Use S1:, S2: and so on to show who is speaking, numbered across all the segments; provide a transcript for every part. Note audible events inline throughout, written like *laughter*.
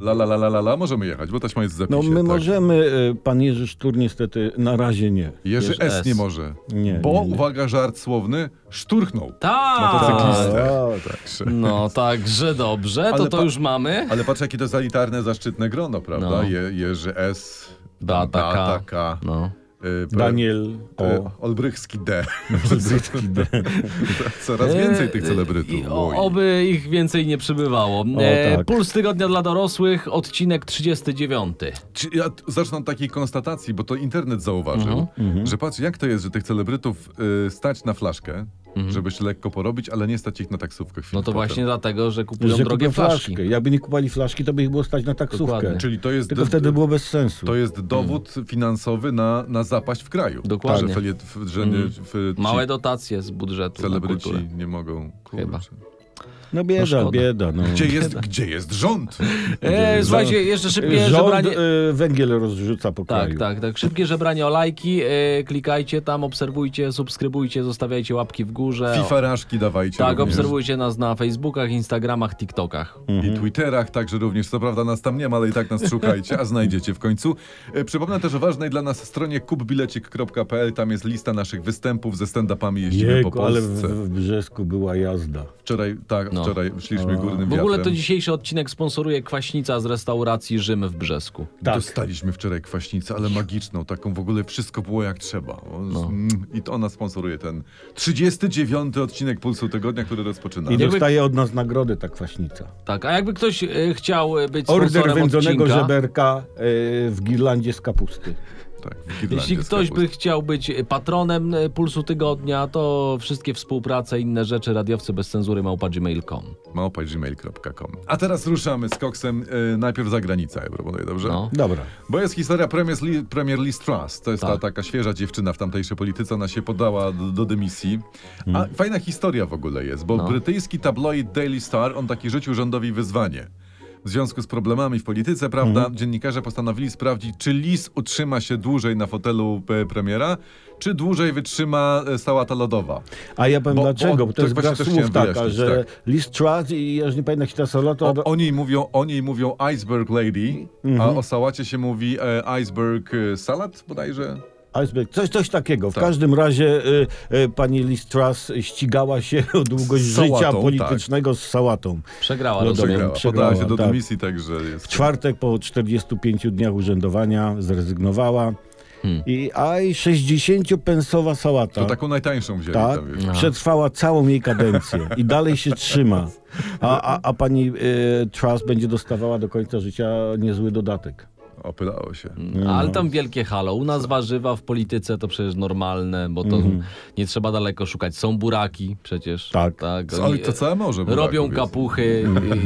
S1: La la la la la la, możemy jechać, bo taśma jest w zapisie.
S2: No my
S1: tak.
S2: możemy, y, pan Jerzy Sztur niestety na razie nie.
S1: Jerzy
S3: Jerzy
S1: S.
S3: S.
S1: nie może.
S2: Nie,
S1: bo,
S2: nie, nie.
S1: uwaga, żart słowny, szturchnął.
S3: Tak!
S1: Motocyklistę.
S2: O,
S1: Także.
S3: No także dobrze,
S1: Ale
S3: to
S1: pa-
S3: to już mamy.
S1: Ale patrz, jakie to zalitarne, zaszczytne grono, prawda?
S3: No.
S1: Je, Jerzy S.
S3: Beata K.
S1: Beata K.
S3: No.
S1: y, pre-
S2: Daniel
S1: y,
S3: E,
S2: O.
S1: Olbrychski
S2: *laughs*
S1: D. Olbrychski D. *laughs* Coraz więcej tych
S3: E,
S1: celebrytów.
S3: i
S1: Oj.
S3: o- Oby ich więcej nie przybywało. E,
S2: tak.
S3: Puls tygodnia dla dorosłych, odcinek No 39.
S1: Czy ja t- zacznę od takiej konstatacji, bo to internet zauważył,
S3: Mhm.
S2: Mhm.
S1: że patrz, jak to jest, że tych celebrytów y, stać na flaszkę, żeby się lekko porobić, ale nie stać ich na taksówkę chwilę
S3: Mhm. No to
S1: potem.
S3: właśnie dlatego, że kupują
S2: Że
S3: drogie
S2: kupią
S3: flaszki.
S2: flaszkę. Jakby nie kupali flaszki, to by ich było stać na taksówkę.
S3: Dokładnie.
S1: Czyli to jest,
S2: Tylko wtedy było bez sensu.
S1: to jest dowód finansowy na, na zapaść w kraju.
S3: Mm. Dokładnie. Mm.
S1: Że, feliet, f- że nie, f, ci
S3: Małe dotacje z budżetu
S1: celebryci
S3: na kulturę.
S1: nie mogą.
S3: Chyba. Mm.
S1: kurczę.
S2: No bieda,
S3: szkoda.
S2: bieda. No.
S1: Gdzie jest, gdzie jest rząd?
S3: E, słuchajcie, jeszcze szybkie
S2: Rząd
S3: żebranie...
S2: y, węgiel rozrzuca po
S3: Tak,
S2: kraju.
S3: tak, tak. Szybkie żebranie o lajki. E, klikajcie tam, obserwujcie, subskrybujcie, zostawiajcie łapki w górze.
S1: Fifaraszki dawajcie.
S3: No. Tak,
S1: również.
S3: obserwujcie nas na Facebookach, Instagramach, TikTokach.
S1: i Twitterach, także również, co prawda nas tam nie ma, ale i tak nas szukajcie, a znajdziecie w końcu. E, Przypomnę też o ważnej dla nas stronie kupbilecik.pl, tam jest lista naszych występów ze stand-upami jeździmy po
S2: Jejku, ale w,
S1: Polsce.
S2: w Brzesku była jazda.
S1: Wczoraj, tak,
S3: No.
S1: wczoraj szliśmy górnym
S3: W ogóle to
S1: wiatrem.
S3: dzisiejszy odcinek sponsoruje kwaśnica z restauracji Rzym w Brzesku.
S2: Tak.
S1: Dostaliśmy wczoraj kwaśnicę, ale magiczną, taką w ogóle wszystko było jak trzeba. O, z-
S3: No.
S1: mm, I to ona sponsoruje ten 39 odcinek Pulsu Tygodnia, który rozpoczyna.
S2: I
S3: Jakby-
S2: dostaje od nas nagrodę ta kwaśnica.
S3: Tak, a jakby ktoś e, chciał e, być
S2: Order
S3: sponsorem
S2: wędzonego
S3: odcinka,
S2: żeberka y, w girlandzie z kapusty.
S1: Tak, w Irlandii
S3: Jeśli
S1: jest
S3: ktoś by
S1: kapust.
S3: chciał być patronem e, Pulsu Tygodnia, to wszystkie współprace, inne rzeczy, radiowcy bez cenzury małpa gmail.com.
S1: Małpa gmail.com. A teraz ruszamy z koksem e, najpierw za granicę, ja proponuję, dobrze?
S3: No.
S2: Dobra.
S1: Bo jest historia Premier, Li, Premier Liz Truss. To jest ta
S3: Tak.
S1: taka świeża dziewczyna w tamtejszej polityce. Ona się podała do, do dymisji. A fajna historia w ogóle jest, bo
S3: Mm. No.
S1: brytyjski tabloid Daily Star, on taki rzucił rządowi wyzwanie. W związku z problemami w polityce, prawda,
S3: Mhm.
S1: dziennikarze postanowili sprawdzić, czy Liz utrzyma się dłużej na fotelu e, premiera, czy dłużej wytrzyma e, sałata lodowa.
S2: A ja powiem
S1: Bo-
S2: dlaczego,
S1: bo-
S2: bo to
S1: tak
S2: jest gra
S1: właśnie też chciałem
S2: słów taka,
S1: wyjaśnić, tak.
S2: że Liz Truss i ja już nie pamiętam jak się ta solo, to...
S1: O, o, niej mówią, o niej mówią Iceberg Lady, a
S3: Mhm.
S1: o sałacie się mówi e, Iceberg e, Salad bodajże.
S2: Iceberg, coś, coś takiego. W
S1: Tak.
S2: każdym razie y, y, pani Liz Truss ścigała się *laughs* o długość
S1: Z sałatą,
S2: życia
S1: tak.
S2: politycznego z sałatą.
S3: Przegrała,
S2: No
S3: rozumiem.
S1: Przegrała.
S2: przegrała,
S1: Podała się do
S2: tak.
S1: dymisji, także jest.
S2: W czwartek po 45 dniach urzędowania zrezygnowała. I aj 60-pensowa sałata.
S1: Hmm. To taką najtańszą wzięli
S2: tak,
S1: tam, wiesz.
S2: przetrwała całą jej kadencję i dalej się trzyma. A, a, a pani y, Truss będzie dostawała do końca życia niezły dodatek.
S1: Opylało się.
S3: No, Ale
S2: no.
S3: tam wielkie halo. U nas warzywa w polityce to przecież normalne, bo to nie trzeba daleko szukać. Są buraki przecież.
S2: Mhm. Tak.
S3: tak.
S1: Co,
S3: Oni,
S1: ale to całe morze. buraków
S3: Robią
S1: jest.
S3: kapuchy,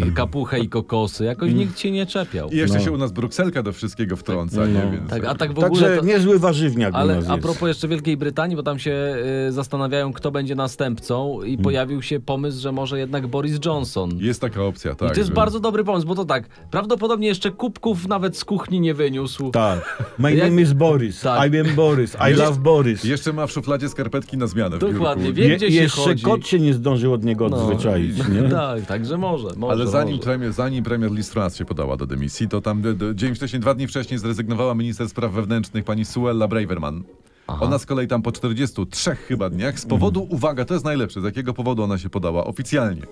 S3: y, kapuchę i kokosy. Jakoś nikt się nie czepiał.
S1: I jeszcze
S2: No.
S1: się u nas Brukselka do wszystkiego wtrąca, nie? Więc
S3: Tak, a tak w ogóle.
S2: Także
S3: to-
S2: niezły warzywniak u
S3: Ale
S2: nas
S3: a
S2: jest.
S3: propos jeszcze Wielkiej Brytanii, bo tam się y, zastanawiają, kto będzie następcą,
S1: Hmm.
S3: i pojawił się pomysł, że może jednak Boris Johnson.
S1: Jest taka opcja, tak.
S3: I to jest
S1: że-
S3: bardzo dobry pomysł, bo to tak, prawdopodobnie jeszcze kubków nawet z kuchni nie wyniósł.
S2: Tak. My
S3: Jak-
S2: name is Boris.
S3: Tak.
S2: I am Boris. I
S1: Jeszcze-
S2: love Boris.
S1: Jeszcze ma w szufladzie skarpetki na zmianę.
S3: Dokładnie,
S1: W biurku.
S3: wie gdzie się
S2: jeszcze
S3: chodzi.
S2: kot się nie zdążył od niego
S3: No.
S2: odzwyczaić. Nie?
S3: *laughs* tak, także może. może
S1: Ale zanim
S3: może.
S1: premier, zanim premier Liz Truss się podała do dymisji, to tam d- d- dzień wcześniej, dwa dni wcześniej zrezygnowała minister spraw wewnętrznych pani Suella Braverman. Ona z kolei tam po 43 chyba dniach z powodu, uwaga, to jest najlepsze, z jakiego powodu ona się podała oficjalnie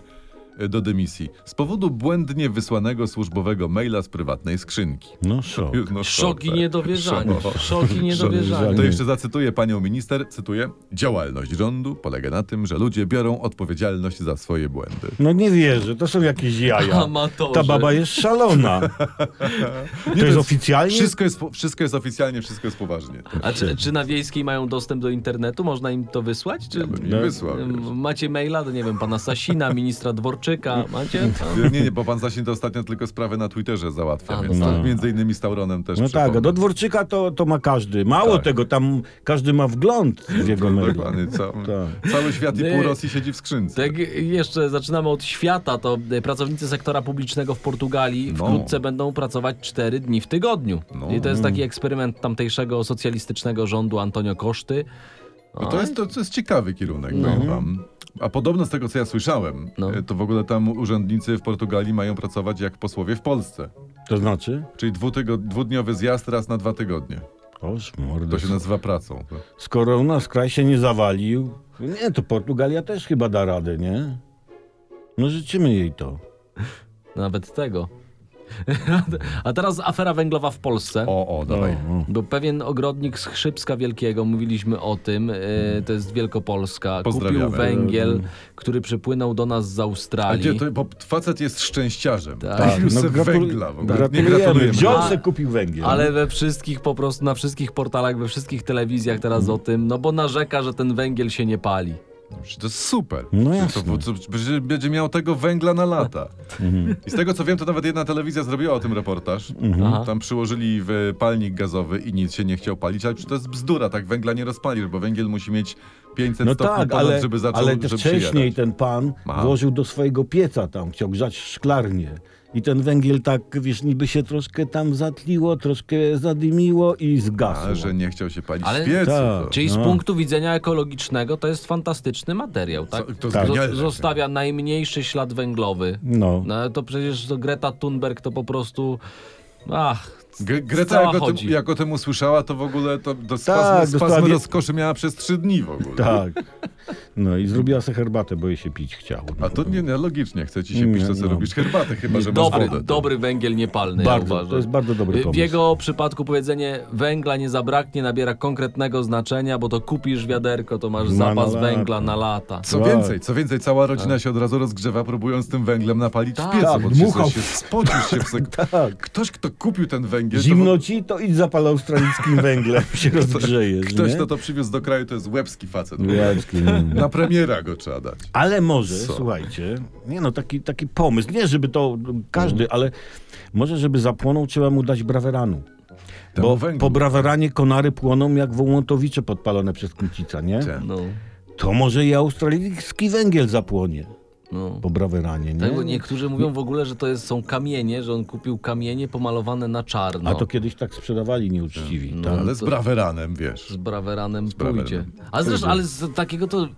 S1: y, do dymisji. Z powodu błędnie wysłanego służbowego maila z prywatnej skrzynki.
S2: No szok.
S1: No,
S3: Szok i
S1: tak.
S3: niedowierzanie.
S1: Szok.
S3: Szok i
S2: Szok.
S3: niedowierzanie.
S1: To jeszcze zacytuję panią minister, cytuję, działalność rządu polega na tym, że ludzie biorą odpowiedzialność za swoje błędy.
S2: No nie wierzę, to są jakieś jaja.
S3: Amatorzy.
S2: Ta baba jest
S1: *laughs*
S2: szalona. To jest oficjalnie?
S1: Wszystko jest, po- wszystko jest oficjalnie, wszystko jest poważnie.
S3: A czy, czy na wiejskiej mają dostęp do internetu? Można im to wysłać? Czy...
S1: Ja bym nie
S2: No.
S1: wysłał.
S3: M-
S1: wiesz.
S3: Macie maila do, nie wiem, pana Sasina, ministra Dworczyka,
S1: *laughs*
S3: macie? Tak.
S1: Nie, nie, bo pan Sasin to ostatnio tylko sprawę na Twitterze załatwia,
S3: A,
S1: więc
S3: no.
S1: to między innymi z Tauronem też
S2: No tak,
S1: przypomnę.
S2: a do dworczyka to, to ma każdy. Mało
S1: Tak.
S2: tego, tam każdy ma wgląd w jego mail.
S1: Dokładnie, ca-
S2: Tak.
S1: Tak, cały świat i pół
S3: Nie.
S1: Rosji siedzi w skrzynce.
S3: Tak, jeszcze zaczynamy od świata, to e, pracownicy sektora publicznego w Portugalii
S1: No.
S3: wkrótce będą pracować 4 dni w tygodniu.
S1: No.
S3: I to jest taki eksperyment tamtejszego socjalistycznego rządu Antonio Koszty.
S1: No to, jest, to, to jest ciekawy kierunek, powiem wam. A podobno z tego, co ja słyszałem,
S3: No.
S1: e, to w ogóle tam urzędnicy w Portugalii mają pracować jak posłowie w Polsce.
S2: To znaczy?
S1: Czyli dwutygod- dwudniowy zjazd raz na dwa tygodnie.
S2: Oż
S1: To
S2: mordo.
S1: się nazywa pracą.
S2: Skoro u nas kraj się nie zawalił, nie, to Portugalia też chyba da radę, nie? No życzymy jej to.
S3: Nawet tego. *laughs* A teraz afera węglowa w Polsce.
S1: O, o, dawaj.
S2: O, o.
S3: Bo pewien ogrodnik z Chrzybska Wielkiego, mówiliśmy o tym, e, to jest Wielkopolska, kupił
S1: Pozdrawiamy. Mm.
S3: węgiel, który przypłynął do nas z
S1: A gdzie
S3: Australii.
S1: to, bo facet jest szczęściarzem.
S3: Tak.
S1: Tak.
S2: no,
S1: No,
S2: gratul-
S1: węgla w ogóle. Nie
S2: Gratulujemy.
S1: gratulujemy.
S2: Wziął
S3: A-
S2: se, kupił węgiel.
S3: Ale we wszystkich po prostu, na wszystkich portalach, we wszystkich telewizjach teraz
S2: Mhm.
S3: o tym, no bo narzeka, że ten węgiel się nie pali.
S1: Przecież To jest super.
S2: No
S1: Przecież
S2: jasne.
S1: To, to, przecież będzie miał tego węgla na lata.
S2: Mhm.
S1: I z tego co wiem, to nawet jedna telewizja zrobiła o tym reportaż.
S3: Aha.
S1: Tam przyłożyli w palnik gazowy i nic się nie chciał palić, ale przecież to jest bzdura, tak węgla nie rozpalisz, bo węgiel musi mieć 500
S2: No
S1: stopni
S2: tak,
S1: ponad,
S2: ale,
S1: żeby zaczął
S2: ale
S1: żeby
S2: wcześniej
S1: przyjarać.
S2: ten pan
S1: Aha.
S2: włożył do swojego pieca tam, chciał grzać szklarnię. I ten węgiel tak, wiesz, niby się troszkę tam zatliło, troszkę zadymiło i zgasł.
S1: A, że nie chciał się palić
S3: Ale-
S1: w piecu.
S2: Tak.
S1: to-
S3: Czyli z
S2: No.
S3: punktu widzenia ekologicznego to jest fantastyczny materiał, tak?
S1: Co- to
S3: Zo-
S1: genialne.
S3: Zostawia najmniejszy ślad węglowy.
S2: No.
S3: No ale to przecież to Greta Thunberg to po prostu... Ach,
S1: Gre- Greta,
S3: cała
S1: jak o, tym,
S3: chodzi.
S1: jak o tym usłyszała, to w ogóle to, to
S2: Tak,
S1: spazmy, spazmy
S2: dostała-
S1: rozkoszy miała przez trzy dni w ogóle.
S2: Tak. No i zrobiła sobie herbatę, bo jej się pić chciało.
S1: A to nie, nie logicznie, chce ci się
S2: Nie,
S1: pić to, co
S2: no.
S1: robisz herbatę, chyba że masz
S3: dobry,
S1: wodę.
S3: dobry węgiel niepalny, ja
S2: Bardzo,
S3: uważam.
S2: to jest bardzo dobry
S3: W
S2: pomysł.
S3: jego przypadku powiedzenie węgla nie zabraknie nabiera konkretnego znaczenia, bo to kupisz wiaderko, to masz
S2: Na-
S3: zapas
S2: na lata.
S3: węgla na lata.
S1: Co
S2: Wow.
S1: więcej, co więcej, cała rodzina się od razu rozgrzewa, próbując tym węglem napalić
S3: Tak.
S1: w piecu,
S2: Tak,
S1: bo
S2: dmuchał.
S1: się, się spocił się w sek...
S2: *laughs* Tak.
S1: Ktoś, kto kupił ten węgiel, to w-
S2: Zimno ci, to idź zapal
S1: *laughs*
S2: australijskim węglem, się rozgrzejesz,
S1: ktoś,
S2: nie?
S1: kto to przywiózł do kraju, to jest łebski facet.
S2: Jacki, no.
S1: Na premiera go trzeba dać.
S2: Ale może,
S1: Co?
S2: słuchajcie, nie no, taki, taki pomysł, nie żeby to każdy, ale może żeby zapłonął, trzeba mu dać braweranu.
S1: Temu
S2: Bo
S1: węglu.
S2: po braweranie konary płoną jak wołątowicze podpalone przez Kucica, nie?
S1: Tak.
S3: No,
S2: To może i australijski węgiel zapłonie
S3: no.
S2: po braweranie, nie?
S3: Tego niektórzy mówią w ogóle, że to jest, są kamienie, że on kupił kamienie pomalowane na czarno.
S2: A to kiedyś tak sprzedawali nieuczciwi.
S3: No.
S2: tak.
S1: Ale z
S3: to-
S1: braweranem, wiesz.
S3: z braweranem
S1: braweranem.
S3: pójdzie. A zresztą, ale z takiego to...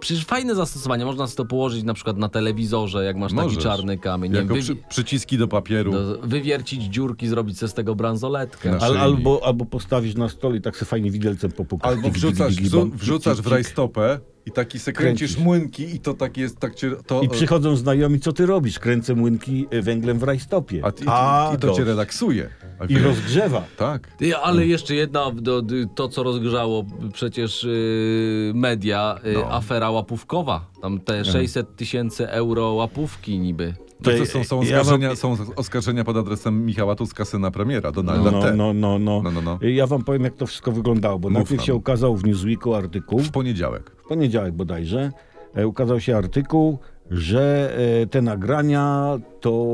S3: Przecież fajne zastosowanie, można sobie to położyć na przykład na telewizorze, jak masz taki
S1: Możesz.
S3: czarny kamień. Nie
S1: Jako
S3: wiem,
S1: przy,
S3: wy...
S1: przyciski do papieru.
S3: do, wywiercić dziurki, zrobić sobie z tego bransoletkę.
S1: Na
S2: Al,
S1: szyjnik.
S2: albo, albo postawisz na stole i tak se fajnie widelcem popukać.
S1: Albo
S2: Dzik, dzik,
S1: wrzucasz,
S2: dzik, dzik,
S1: wrzu,
S2: bam,
S1: wrzucasz
S2: dzik,
S1: w
S2: dzik, dzik.
S1: rajstopę i taki se kręcisz,
S2: Kręcisz.
S1: młynki i to tak jest, tak cię... To,
S2: I przychodzą znajomi, co ty robisz? Kręcę młynki y, węglem w rajstopie.
S1: a, ty, I to
S2: dość.
S1: cię relaksuje. A
S2: I
S1: wiesz,
S2: rozgrzewa.
S1: Tak.
S3: Ty, ale jeszcze jedna, do, d- to co rozgrzało przecież yy, media, yy,
S1: No.
S3: afera łapówkowa. Tam te 600 tysięcy euro łapówki niby.
S1: To,
S2: Ty,
S1: to Znaczy, są, są,
S2: ja
S1: oskarżenia, są oskarżenia pod adresem Michała Tuska, syna premiera, Donalda
S2: no,
S1: T.
S2: no, no, no.
S1: No, no, no.
S2: Ja wam powiem, jak to wszystko wyglądało, bo
S1: Mów
S2: najpierw
S1: nam.
S2: się ukazał w Newsweeku artykuł,
S1: W poniedziałek.
S2: w poniedziałek bodajże, e, ukazał się artykuł, że e, te nagrania to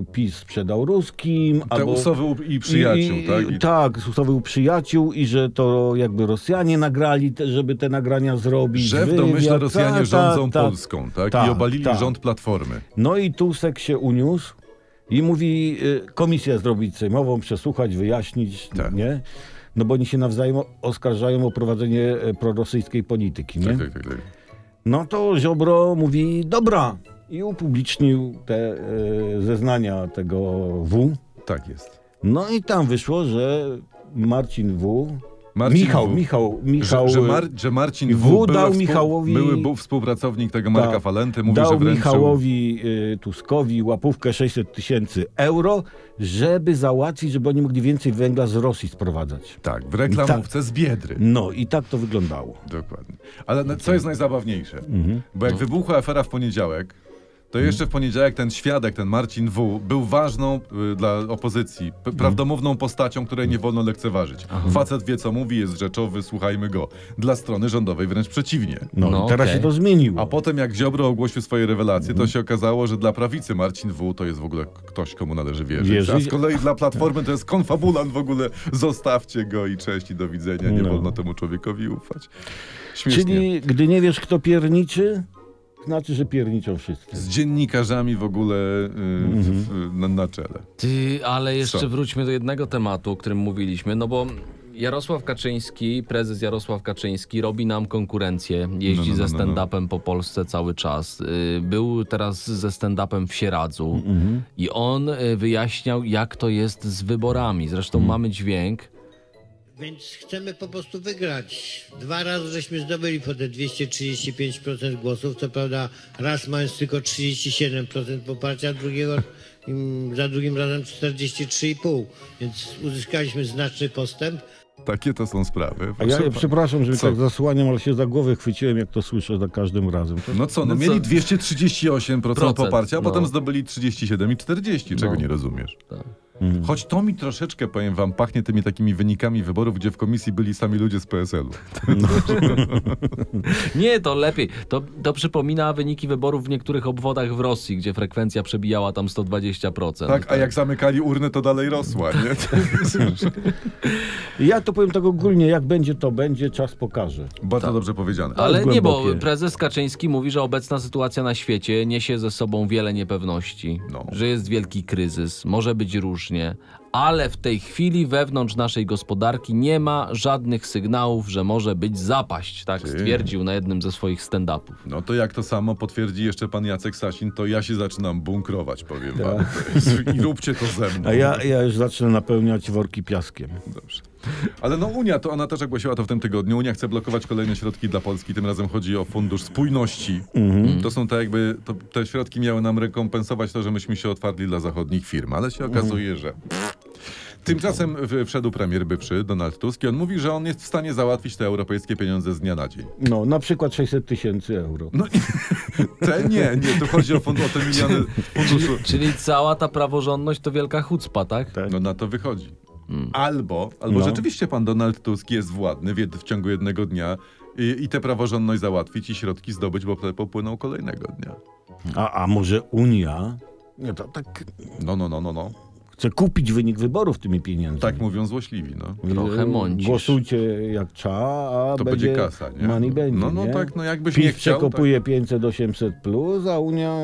S2: e, PiS sprzedał ruskim,
S1: Te
S2: albo...
S1: usowy u- i przyjaciół,
S2: i, i,
S1: tak? I,
S2: tak, usowył przyjaciół i że to jakby Rosjanie nagrali, te, żeby te nagrania zrobić.
S1: że w domyśle
S2: wywiad,
S1: Rosjanie
S2: ta, ta,
S1: rządzą
S2: ta.
S1: Polską, tak?
S2: Tak,
S1: I obalili
S2: tak.
S1: rząd Platformy.
S2: No i Tusek się uniósł i mówi, y, komisję zrobić sejmową, przesłuchać, wyjaśnić,
S1: Tak.
S2: nie? No bo oni się nawzajem o- oskarżają o prowadzenie e, prorosyjskiej polityki, nie?
S1: Tak, tak, tak, tak.
S2: No to Ziobro mówi, dobra, i upublicznił te e, zeznania tego W.
S1: tak jest.
S2: No i tam wyszło, że Marcin W.
S1: Marcin
S2: Michał,
S1: W.
S2: Michał, Michał.
S1: że, że,
S2: e,
S1: Mar że Marcin
S2: W
S1: W.
S2: dał
S1: były współ-
S2: Michałowi-
S1: Były był współpracownik tego Marka Falenty, mówił,
S2: dał
S1: że wręczył...
S2: Michałowi y, Tuskowi łapówkę 600 tysięcy euro, żeby załatwić, żeby oni mogli więcej węgla z Rosji sprowadzać.
S1: Tak, w reklamówce z Biedry.
S2: No i tak to wyglądało.
S1: Dokładnie. Ale na- co jest najzabawniejsze? Bo jak wybuchła afera w poniedziałek, to jeszcze w poniedziałek ten świadek, ten Marcin W., był ważną y, dla opozycji, p- prawdomówną postacią, której nie wolno lekceważyć. Facet wie, co mówi, jest rzeczowy, słuchajmy go. Dla strony rządowej wręcz przeciwnie.
S2: No,
S3: No,
S2: i teraz
S3: okej.
S2: się to zmieniło.
S1: A potem jak Ziobro ogłosił swoje rewelacje, to się okazało, że dla prawicy Marcin W. to jest w ogóle ktoś, komu należy wierzyć.
S2: Wierzyć.
S1: A z kolei dla Platformy to jest konfabulant w ogóle. Zostawcie go i cześć i do widzenia. Nie
S2: No.
S1: wolno temu człowiekowi ufać. Śmiesznie.
S2: Czyli gdy nie wiesz, kto pierniczy, znaczy, że pierniczą wszyscy.
S1: z dziennikarzami w ogóle y,
S2: Mhm.
S1: w, na, na czele.
S3: Ty, ale jeszcze
S1: Co?
S3: wróćmy do jednego tematu, o którym mówiliśmy, no bo Jarosław Kaczyński, prezes Jarosław Kaczyński robi nam konkurencję. Jeździ
S1: No, no, no,
S3: ze
S1: no, no.
S3: stand-upem po Polsce cały czas. Y, Był teraz ze stand-upem w Sieradzu
S1: Mhm.
S3: i on y, wyjaśniał, jak to jest z wyborami. Zresztą
S1: Mhm.
S3: mamy dźwięk.
S4: Więc chcemy po prostu wygrać. Dwa razy żeśmy zdobyli po te 235% głosów. Co prawda raz mając tylko 37% poparcia, drugiego, im- za drugim razem 43,5%. Więc uzyskaliśmy znaczny postęp.
S1: Takie to są sprawy.
S2: A ja
S1: Proszę pa-
S2: przepraszam, że
S1: Co?
S2: tak zasłaniam, ale się za głowę chwyciłem, jak to słyszę za każdym razem. To-
S1: No co, no,
S3: No co?
S1: mieli 238%
S3: Procent,
S1: poparcia, a
S3: no.
S1: potem zdobyli 37 i 40, czego
S3: No.
S1: nie rozumiesz. Mhm.
S3: Tak.
S1: Choć to mi troszeczkę, powiem wam, pachnie tymi takimi wynikami wyborów, gdzie w komisji byli sami ludzie z PSL-u.
S3: Nie, to lepiej. To, to przypomina wyniki wyborów w niektórych obwodach w Rosji, gdzie frekwencja przebijała tam 120%.
S1: Tak, a jak zamykali urnę, to dalej rosła, *laughs* nie?
S2: Ja to powiem tak ogólnie, jak będzie, to będzie, czas pokaże.
S1: Bardzo dobrze powiedziane.
S3: Ale nie, bo
S2: głębokie.
S3: prezes Kaczyński mówi, że obecna sytuacja na świecie niesie ze sobą wiele niepewności,
S1: No.
S3: że jest wielki kryzys, może być różnie, ale w tej chwili wewnątrz naszej gospodarki nie ma żadnych sygnałów, że może być zapaść, tak
S1: Ty.
S3: stwierdził na jednym ze swoich stand-upów.
S1: No to jak to samo potwierdzi jeszcze pan Jacek Sasin, to ja się zaczynam bunkrować, powiem wam. To jest- I róbcie to ze mną.
S2: A ja, ja już zacznę napełniać worki piaskiem.
S1: Dobrze. Ale no Unia, to ona też ogłosiła to w tym tygodniu. Unia chce blokować kolejne środki dla Polski. Tym razem chodzi o Fundusz Spójności. To są te jakby, to, te środki miały nam rekompensować to, że myśmy się otwarli dla zachodnich firm, ale się okazuje, że... Tymczasem w- wszedł premier bywszy, Donald Tusk, i on mówi, że on jest w stanie załatwić te europejskie pieniądze z dnia na dzień.
S2: No, na przykład 600 tysięcy euro.
S1: No i *laughs* te nie, nie, tu chodzi o, fund, o te miliony funduszu.
S3: Czyli cała ta praworządność to wielka chucpa, tak?
S2: Tak.
S1: No na to wychodzi. Albo, albo
S2: Hmm. No.
S1: rzeczywiście pan Donald Tusk jest władny w, jed, w ciągu jednego dnia i, i tę praworządność załatwić i środki zdobyć, bo potem popłyną kolejnego dnia.
S2: A, a może Unia nie, to, tak,
S1: No, no, no, no, no.
S2: chce kupić wynik wyborów tymi pieniędzmi.
S1: Tak mówią złośliwi, no.
S2: I,
S3: Trochę
S2: e,
S3: mącisz.
S2: Głosujcie jak trzeba, a
S1: To będzie,
S2: będzie,
S1: kasa, nie?
S2: Money będzie,
S1: no, no
S2: nie?
S1: tak, no jakbyś nie
S2: PiS
S1: chciał. Tak.
S2: przekopuje 500 800 plus, a Unia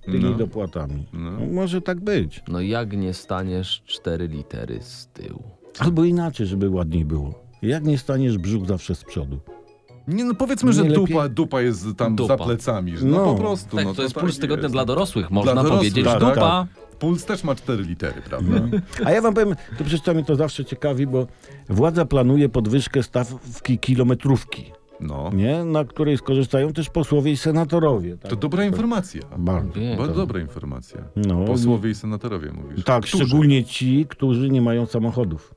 S2: tymi
S1: No.
S2: dopłatami.
S1: No.
S2: No, Może tak być.
S3: No jak nie staniesz cztery litery z tyłu?
S2: Albo inaczej, żeby ładniej było. Jak nie staniesz brzuch zawsze z przodu.
S1: Nie, no powiedzmy, że
S2: Nie lepiej?
S1: dupa, dupa jest tam
S3: Dupa.
S1: za plecami. Że, no,
S2: No.
S1: po prostu.
S3: Tak,
S1: no,
S3: to jest
S1: tak
S3: puls tygodnia
S1: jest.
S3: dla dorosłych, można
S1: dorosłych,
S3: powiedzieć.
S1: tak,
S3: Dupa.
S1: Puls też ma cztery litery, prawda?
S2: A ja wam powiem, to przecież to mnie to zawsze ciekawi, bo władza planuje podwyżkę stawki kilometrówki,
S1: No.
S2: nie? na której skorzystają też posłowie i senatorowie. Tak?
S1: To dobra informacja.
S2: Bardzo.
S3: Wie,
S1: Bardzo
S3: to-
S1: dobra informacja.
S2: No.
S1: Posłowie i senatorowie mówisz.
S2: Tak,
S1: Którzy?
S2: szczególnie ci, którzy nie mają samochodów.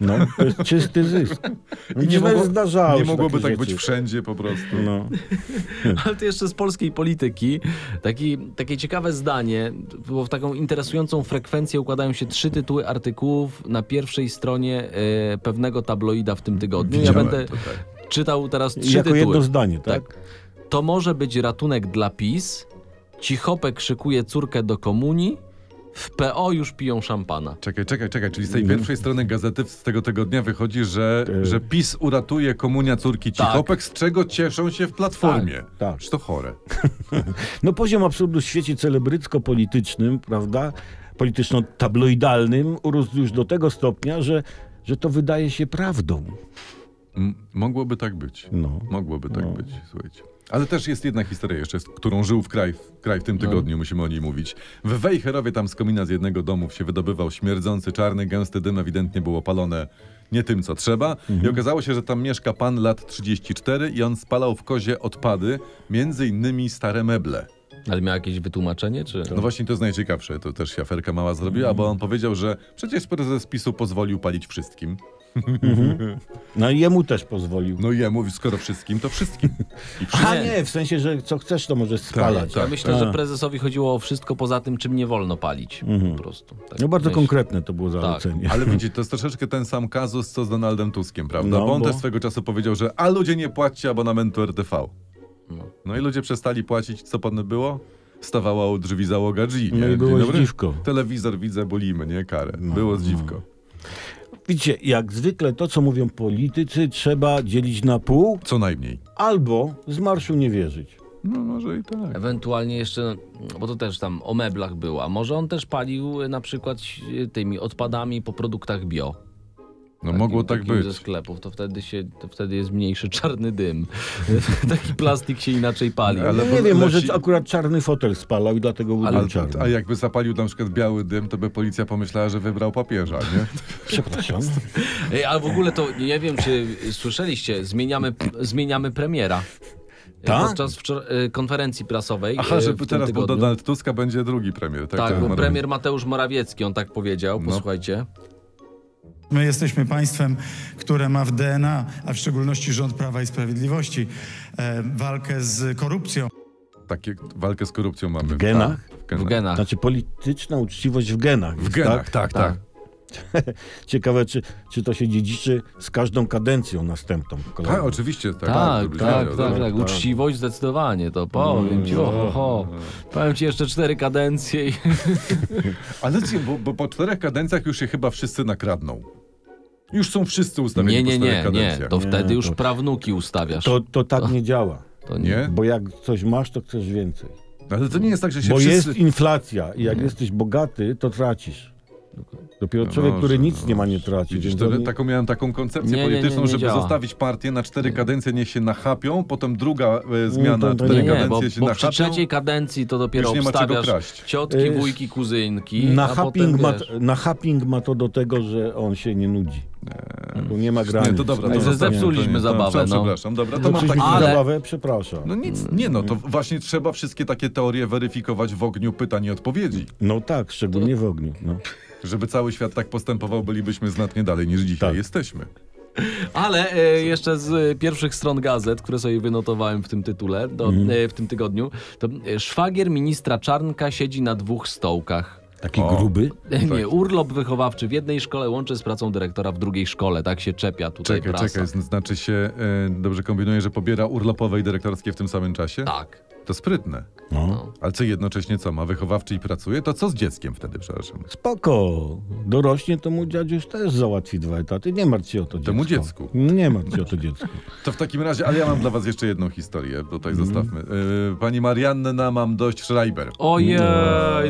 S2: No, to jest czysty zysk.
S1: *laughs* I nie,
S2: Źle
S1: mogło,
S2: zdarzało
S1: nie
S2: się
S1: mogłoby
S2: takie
S1: tak być
S2: rzeczy.
S1: wszędzie po prostu. *laughs*
S2: No.
S3: *laughs* Ale to jeszcze z polskiej polityki. Taki, takie ciekawe zdanie, bo w taką interesującą frekwencję układają się trzy tytuły artykułów na pierwszej stronie e, pewnego tabloida w tym tygodniu. Ja
S1: Widziałem
S3: będę
S1: to, tak.
S3: czytał teraz
S2: I
S3: trzy
S2: Jako jedno
S3: tytuły.
S2: zdanie, tak?
S3: To może być ratunek dla PiS, Cichopek szykuje córkę do komunii, w PO już piją szampana.
S1: Czekaj, czekaj, czekaj, czyli z tej
S2: Mhm.
S1: pierwszej strony gazety z tego tygodnia wychodzi, że,
S2: E.
S1: że PiS uratuje komunia córki
S3: Tak.
S1: Cichopek, z czego cieszą się w Platformie.
S2: tak.
S1: Czy to chore?
S2: No poziom absurdu w świecie celebrycko-politycznym, prawda, polityczno-tabloidalnym urósł już do tego stopnia, że, że to wydaje się prawdą.
S1: M- mogłoby tak być.
S2: No.
S1: Mogłoby tak
S2: No.
S1: być, słuchajcie. Ale też jest jedna historia jeszcze, z którą żył w kraj, w kraj w
S2: No.
S1: tym tygodniu, musimy o niej mówić. W Wejherowie tam z komina z jednego domu się wydobywał śmierdzący, czarny, gęsty dym, ewidentnie było palone nie tym, co trzeba.
S2: Mhm.
S1: I okazało się, że tam mieszka pan lat 34 i on spalał w kozie odpady, między innymi stare meble.
S3: Ale miał jakieś wytłumaczenie, czy...
S2: Tak.
S1: No właśnie to jest najciekawsze, to też się aferka mała zrobiła,
S2: Mhm.
S1: bo on powiedział, że przecież prezes PiSu pozwolił palić wszystkim.
S2: No i jemu też pozwolił.
S1: No i ja mówię, skoro wszystkim, to wszystkim.
S2: *laughs*
S1: I
S2: A
S3: Nie.
S2: nie, w sensie, że co chcesz, to możesz spalać.
S1: tak.
S3: Ja myślę, że
S2: A.
S3: prezesowi chodziło o wszystko poza tym, czym nie wolno palić. Po prostu. Tak
S2: No bardzo
S3: myślę.
S2: konkretne to
S1: Tak.
S2: było zalecenie.
S1: *laughs* Ale widzicie, to jest troszeczkę ten sam kazus, co z Donaldem Tuskiem, prawda?
S2: No,
S1: bo on
S2: bo-
S1: też swego czasu powiedział, że a ludzie nie płaccie abonamentu RTV. No i ludzie przestali płacić, co pan było? Stawała u drzwi załoga G, nie?
S2: No i
S1: Dzień
S2: było
S1: dobry.
S2: zdziwko. No,
S1: Telewizor widzę, bolimy, nie? Karę. było zdziwko.
S2: Widzicie, jak zwykle to, co mówią politycy, trzeba dzielić na pół
S1: Co najmniej.
S2: albo z marszu nie wierzyć.
S1: No może i tak.
S3: Ewentualnie jeszcze, no, bo to też tam o meblach e, była. Może on też palił y, na przykład y, tymi odpadami po produktach bio.
S1: No
S3: takim-
S1: mogło tak
S3: takim
S1: być.
S3: ze sklepów, to wtedy, się, to wtedy jest mniejszy *laughs* czarny dym. Taki plastik się inaczej
S1: *laughs*
S3: pali.
S1: Ale
S2: nie
S1: bo
S2: wiem,
S1: leci-
S2: może akurat czarny fotel spalał i dlatego był
S1: Ale,
S2: czarny.
S1: a jakby zapalił na przykład biały dym, to by policja pomyślała, że wybrał papieża,
S3: *laughs*
S1: nie? *laughs*
S2: Przepraszam.
S1: Tak.
S3: Ej, ale w ogóle to nie wiem, czy słyszeliście, zmieniamy, zmieniamy premiera. E,
S2: Tak?
S3: Podczas wczor- y, konferencji prasowej.
S1: Aha,
S3: y,
S1: że
S3: w tym
S1: teraz po
S3: tygodniu.
S1: Donald Tuska będzie drugi premier. Tak,
S3: Tak,
S1: to
S3: bo
S1: ma
S3: premier Mateusz Morawiecki, on tak powiedział,
S1: No.
S3: posłuchajcie.
S5: My jesteśmy państwem, które ma w DNA, a w szczególności rząd Prawa i Sprawiedliwości, e, walkę z korupcją.
S1: robić. Takie walkę z korupcją mamy. W
S2: genach?
S1: W
S3: W
S1: genach.
S3: genach.
S2: Znaczy polityczna uczciwość w genach.
S1: W genach, tak, tak.
S2: Ciekawe, czy, czy to się dziedziczy z każdą kadencją następną.
S1: Tak,
S2: kolejną.
S1: oczywiście. Tak,
S3: Tak,
S1: dobrze,
S3: tak,
S1: nie,
S3: tak,
S1: dobra.
S3: tak, Uczciwość zdecydowanie, to powiem ci, oho, ho. Powiem ci jeszcze cztery kadencje i
S1: Ale ci- bo, bo po czterech kadencjach już się chyba wszyscy nakradną. Już są wszyscy ustawieni
S3: Nie,
S1: po
S3: nie,
S1: czterech
S3: nie, nie.
S1: kadencjach.
S3: To wtedy już
S2: to-
S3: prawnuki ustawiasz.
S2: To, to tak nie działa.
S3: To
S1: Nie?
S2: Bo jak coś masz, to chcesz więcej.
S1: Ale to nie jest tak, że się
S2: Bo
S1: wszyscy...
S2: jest inflacja i jak jesteś bogaty, to tracisz. Dopiero
S1: No
S2: człowiek, który
S1: dobrze,
S2: nic
S1: no
S2: nie ma, nie traci.
S1: Widzisz,
S2: więc
S1: to, tak-
S2: on-
S1: taką miałem taką koncepcję
S3: Nie, nie, nie,
S1: polityczną,
S3: nie
S1: żeby
S3: działa.
S1: zostawić partię na cztery kadencje, niech się nachapią, potem druga e,
S2: Nie, to-
S1: zmiana,
S2: to
S1: cztery
S3: Nie, nie,
S1: kadencje
S3: bo,
S1: się
S3: bo przy
S1: nachapią.
S3: trzeciej kadencji to dopiero
S1: już nie ma czego
S3: obstawiasz
S1: kraść.
S3: ciotki,
S2: Y,
S3: wujki, kuzynki,
S2: Na
S3: a potem
S2: happing, ma,
S3: wiesz,
S2: na happing ma to do tego, że on się nie nudzi. Tu nie ma granic.
S1: Eee. Nie, to dobra, to
S3: Także
S1: zostawiam, to
S3: zepsuliśmy
S1: nie, to-
S3: zabawę, no.
S1: Przepraszam, dobra, to
S2: To
S1: mam
S2: czyś
S1: taki...
S2: mi
S3: Ale-
S2: zabawę? Przepraszam.
S1: No nic, nie no, to właśnie trzeba wszystkie takie teorie weryfikować w ogniu pytań i odpowiedzi.
S2: No tak, szczególnie w ogniu. No.
S1: Żeby cały świat tak postępował, bylibyśmy znacznie dalej niż dzisiaj
S2: Tak.
S1: jesteśmy.
S3: Ale e, jeszcze z e, pierwszych stron gazet, które sobie wynotowałem w tym tytule, do, e, w tym tygodniu, to e, szwagier ministra Czarnka siedzi na dwóch stołkach.
S2: Taki
S1: O.
S2: gruby.
S3: Nie, urlop wychowawczy w jednej szkole łączy z pracą dyrektora w drugiej szkole. Tak się czepia tutaj
S1: Czekaj,
S3: prasa.
S1: czekaj, zn- znaczy się, e, dobrze kombinuję, że pobiera urlopowe i dyrektorskie w tym samym czasie?
S3: Tak.
S1: To sprytne.
S2: No.
S1: Ale co jednocześnie co, ma wychowawczy i pracuje? To co z dzieckiem wtedy, przepraszam?
S2: Spoko. Dorośnie to mu dziadziuś też załatwi dwa etaty. Nie martw się o to dziecko. No
S1: Temu
S2: Nie martw się o to dziecko.
S1: To w takim razie, ale ja mam dla was jeszcze jedną historię, tutaj zostawmy. E, pani Marianna, mam dość Schreiber.
S3: Ojej,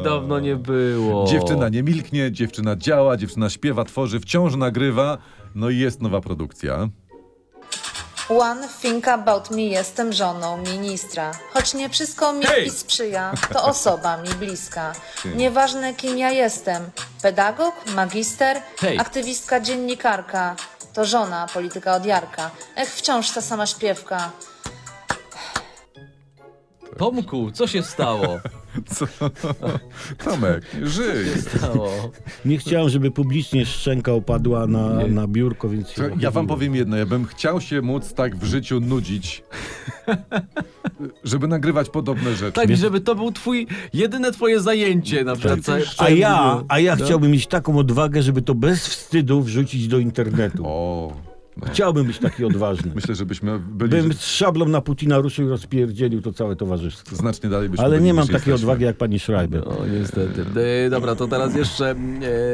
S3: dawno nie było.
S1: Dziewczyna nie milknie, dziewczyna działa, dziewczyna śpiewa, tworzy, wciąż nagrywa. No i jest nowa produkcja.
S6: One Think About Me jestem żoną ministra. Choć nie wszystko mi
S1: Hej!
S6: hey! sprzyja, to osoba mi bliska. Nieważne kim ja jestem, pedagog, magister,
S3: Hej!
S6: aktywistka, dziennikarka, to żona, polityka od Jarka. Ech, wciąż ta sama śpiewka.
S3: Tomku, co się stało?
S1: Co? *laughs* Tomek, żyj.
S3: stało?
S2: Nie chciałem, żeby publicznie szczęka opadła na, na biurko, więc... się
S1: To Ja wam
S2: zachowiłem.
S1: powiem jedno, ja bym chciał się móc tak w życiu nudzić, żeby nagrywać podobne rzeczy.
S3: Tak, żeby to był twój, jedyne twoje zajęcie na przykład. całe- w
S2: tak. A
S3: całym
S2: ja,
S3: dniu.
S2: a ja
S1: no.
S2: chciałbym mieć taką odwagę, żeby to bez wstydu wrzucić do internetu.
S1: O,
S2: Chciałbym być taki odważny.
S1: myślę, żebyśmy byli
S2: Bym z szablą na Putina ruszył i rozpierdzielił to całe towarzystwo.
S1: znacznie dalej. Byśmy
S2: Ale
S1: byli,
S2: nie mam
S1: niż
S2: takiej
S1: jesteśmy.
S2: odwagi jak pani Schreiber.
S1: No,
S3: O, niestety. E, dobra, to teraz jeszcze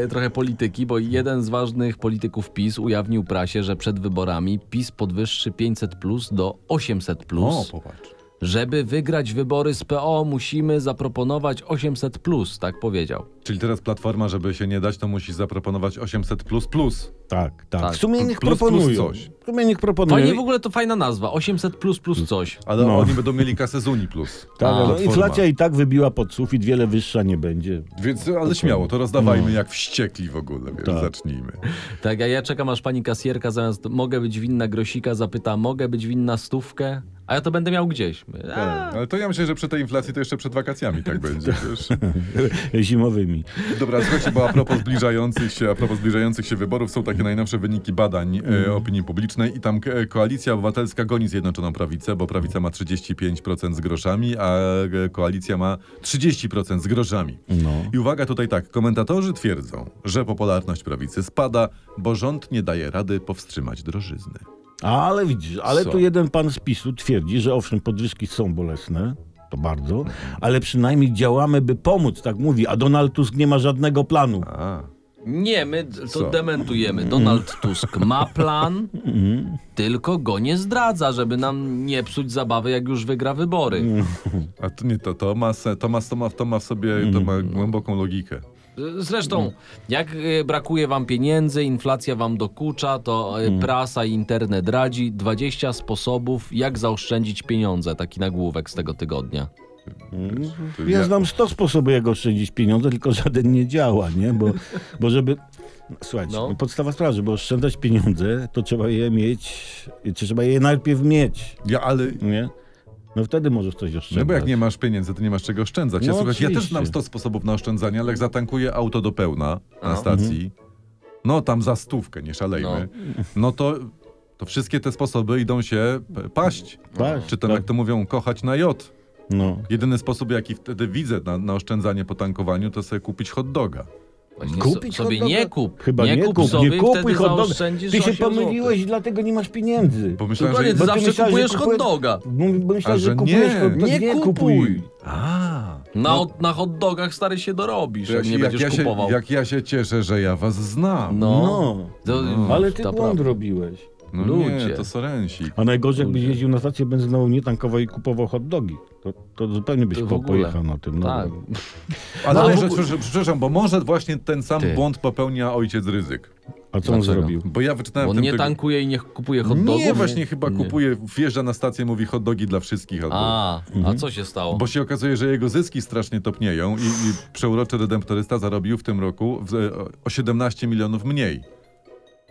S3: e, trochę polityki, bo jeden z ważnych polityków PiS ujawnił prasie, że przed wyborami PiS podwyższy 500 plus do 800 plus.
S1: O, popatrz.
S3: Żeby wygrać wybory z PO, musimy zaproponować 800 plus, tak powiedział.
S1: Czyli teraz Platforma, żeby się nie dać, to musi zaproponować 800 plus plus.
S2: Tak, tak.
S3: Tak.
S2: W sumie niech
S1: Plus, plus
S2: proponują.
S1: coś.
S2: W sumie niech
S3: Fajnie
S2: proponują.
S3: w ogóle to fajna nazwa, 800 plus plus coś.
S1: Ale
S2: No.
S1: oni będą mieli kasę z Unii plus.
S2: Tak, no,
S1: Platforma.
S2: inflacja i tak wybiła pod sufit, wiele wyższa nie będzie. *laughs*
S1: Więc, ale śmiało, to rozdawajmy jak wściekli w ogóle, wiesz,
S2: No. Tak.
S1: zacznijmy.
S3: Tak, a ja czekam aż pani kasjerka zamiast mogę być winna grosika zapyta, mogę być winna stówkę, a ja to będę miał gdzieś. A,
S1: Ale to ja myślę, że przy tej inflacji to jeszcze przed wakacjami
S2: *laughs*
S1: tak będzie, wiesz.
S2: Zimowymi.
S1: Dobra, słuchajcie, bo a propos zbliżających się, a propos zbliżających się wyborów, są takie najnowsze wyniki badań
S2: Mhm.
S1: e, opinii publicznej i tam e, Koalicja Obywatelska goni Zjednoczoną Prawicę, bo Prawica ma 35% z groszami, a e, Koalicja ma 30% z groszami.
S2: No.
S1: I uwaga tutaj tak, komentatorzy twierdzą, że popularność prawicy spada, bo rząd nie daje rady powstrzymać drożyzny.
S2: Ale widzisz, ale
S3: Co?
S2: tu jeden pan z PiSu twierdzi, że owszem, podwyżki są bolesne, to bardzo, ale przynajmniej działamy, by pomóc, tak mówi, a Donald Tusk nie ma żadnego planu.
S1: A,
S3: Nie, my d- to
S1: Co?
S3: dementujemy. Donald Tusk ma plan, tylko go nie zdradza, żeby nam nie psuć zabawy, jak już wygra wybory.
S2: Mhm.
S1: a to nie, to, to, ma, se, to, ma, to, ma, to ma w sobie to ma głęboką logikę.
S3: Zresztą, jak y, brakuje wam pieniędzy, inflacja wam dokucza, to
S2: Mm.
S3: y, prasa i internet radzi 20 sposobów, jak zaoszczędzić pieniądze. Taki nagłówek z tego tygodnia.
S1: To
S2: Ja
S1: ja-
S2: znam 100 sposobów, jak oszczędzić pieniądze, tylko żaden nie działa, nie? Bo, bo żeby. Słuchajcie,
S3: No.
S2: no. podstawa sprawy, żeby oszczędzać pieniądze, to trzeba je mieć, czy trzeba je najpierw mieć,
S1: Ja, ale...
S2: nie? No wtedy możesz coś oszczędzać.
S1: No bo jak nie masz pieniędzy, to nie masz czego oszczędzać. Ja,
S2: No
S1: słuchaj, ja też
S2: oczywiście.
S1: znam 100 sposobów na oszczędzanie, ale jak zatankuję auto do pełna na stacji, no tam za stówkę, nie szalejmy, no, to, to wszystkie te sposoby idą się p- paść.
S2: Paść,
S1: Czy tam,
S2: tak.
S1: jak to mówią, kochać na jod.
S2: No.
S1: Jedyny sposób, jaki wtedy widzę na, na oszczędzanie po tankowaniu, to sobie kupić hot doga.
S3: Właśnie
S2: Kupić
S3: so, sobie
S2: hot doga?
S3: nie kup.
S2: Chyba nie, kup,
S3: sobie,
S2: nie kupuj
S3: wtedy
S2: hot doga.
S3: zaoszczędzisz
S2: Ty się
S3: 8 złotych.
S2: pomyliłeś i dlatego nie masz pieniędzy.
S1: Pomyślałem,
S3: Dokładnie, ty
S1: że...
S2: Bo ty
S3: zawsze
S2: myślałeś,
S3: kupujesz
S2: że
S3: hot
S2: kupujesz-
S3: doga.
S2: Bo
S1: A,
S2: myślałem,
S1: że
S2: że kupujesz
S1: nie.
S2: hot dog.
S3: Nie kupuj.
S2: kupuj.
S1: A,
S3: Na,
S2: No.
S3: na hot dogach stary się dorobisz,
S1: to
S3: jak,
S1: jak,
S3: nie
S1: jak,
S3: będziesz
S1: ja się,
S3: kupował.
S1: jak ja się cieszę, że ja was znam.
S3: No.
S2: No.
S3: To-
S2: Ale ty
S3: to
S2: błąd
S3: prawda.
S2: robiłeś.
S1: no
S3: ludzie.
S1: nie, to sorensik.
S2: A najgorzej, jakbyś
S3: Ludzie.
S2: jeździł na stację benzynową, nie tankował i kupował hot dogi. To, to zupełnie byś
S3: To w
S2: po,
S3: ogóle.
S2: pojechał na tym. No.
S3: Tak.
S1: Ale
S3: No, ale-
S1: może, przepraszam, przepraszam, bo może właśnie ten sam
S3: Ty.
S1: błąd popełnia ojciec Ryzyk.
S2: A co on
S3: Dlaczego?
S2: zrobił?
S1: Bo ja wyczytałem
S3: On
S1: ten
S3: nie
S1: tyg-
S3: tankuje i nie kupuje hot dogów?
S1: Nie, właśnie chyba
S3: Nie.
S1: kupuje, wjeżdża na stację, mówi hot dogi dla wszystkich. Albo,
S3: A,
S2: Mhm.
S3: a co się stało?
S1: bo się okazuje, że jego zyski strasznie topnieją i, i przeuroczy redemptorysta zarobił w tym roku w, e, o 17 milionów mniej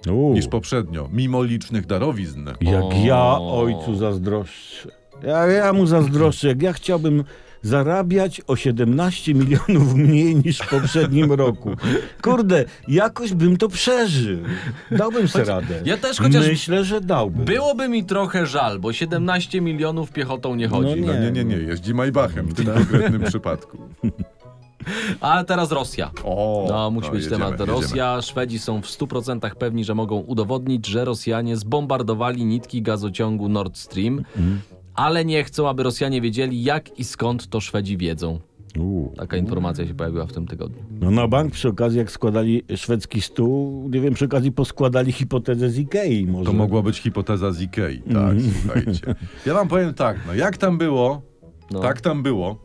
S2: Uuu,
S1: niż poprzednio, mimo licznych darowizn.
S2: Jak ja ojcu zazdroszczę. Ja, ja mu zazdroszczę. Jak ja chciałbym zarabiać o 17 milionów mniej niż w
S3: *laughs*
S2: poprzednim roku. Kurde, jakoś bym to przeżył. Dałbym sobie radę.
S3: ja też chociaż-
S2: Myślę, że dałbym.
S3: Byłoby mi trochę żal, bo 17 milionów piechotą nie chodzi.
S1: No nie, nie, nie, jeździ Maybachem
S3: *laughs*
S1: w tym konkretnym przypadku.
S3: A teraz Rosja.
S1: O,
S3: No, musi być
S1: jedziemy,
S3: temat.
S1: jedziemy.
S3: Rosja, Szwedzi są w 100% pewni, że mogą udowodnić, że Rosjanie zbombardowali nitki gazociągu Nord Stream, ale nie chcą, aby Rosjanie wiedzieli, jak i skąd to Szwedzi wiedzą.
S2: Uuu.
S3: Taka informacja się pojawiła w tym tygodniu.
S2: No na bank przy okazji, jak składali szwedzki stół, nie wiem, przy okazji poskładali hipotezę z Ikei może.
S1: To mogła być hipoteza z Ikei, tak,
S3: Mhm.
S1: słuchajcie. Ja wam powiem tak, no jak tam było,
S3: No. Mhm.
S1: tak tam było,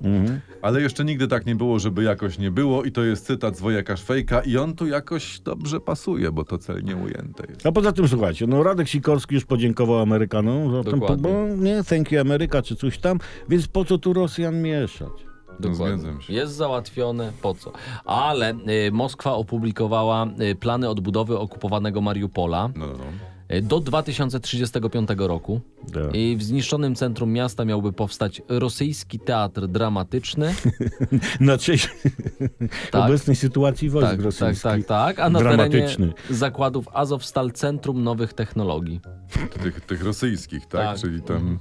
S1: ale jeszcze nigdy tak nie było, żeby jakoś nie było i to jest cytat z Wojaka Szwejka i on tu jakoś dobrze pasuje, bo to celnie ujęte jest.
S2: A poza tym słuchajcie, no Radek Sikorski już podziękował Amerykanom za ten
S3: Dokładnie.
S2: bo nie, thank you Ameryka czy coś tam, więc po co tu Rosjan mieszać?
S1: zgadzam się.
S3: Jest załatwione, po co? Ale y, Moskwa opublikowała y, plany odbudowy okupowanego Mariupola
S1: No, no, no.
S3: y, do 2035 roku.
S2: Tak.
S3: I w zniszczonym centrum miasta miałby powstać rosyjski teatr dramatyczny.
S2: Na cześć
S3: *laughs* Tak.
S2: obecnej sytuacji wojsk
S3: tak, tak,
S2: rosyjskich.
S3: tak, tak. A na
S2: Dramatyczny.
S3: terenie zakładów Azovstal Centrum Nowych Technologii.
S1: Tych, tych rosyjskich, tak?
S3: Tak.
S1: Czyli tam...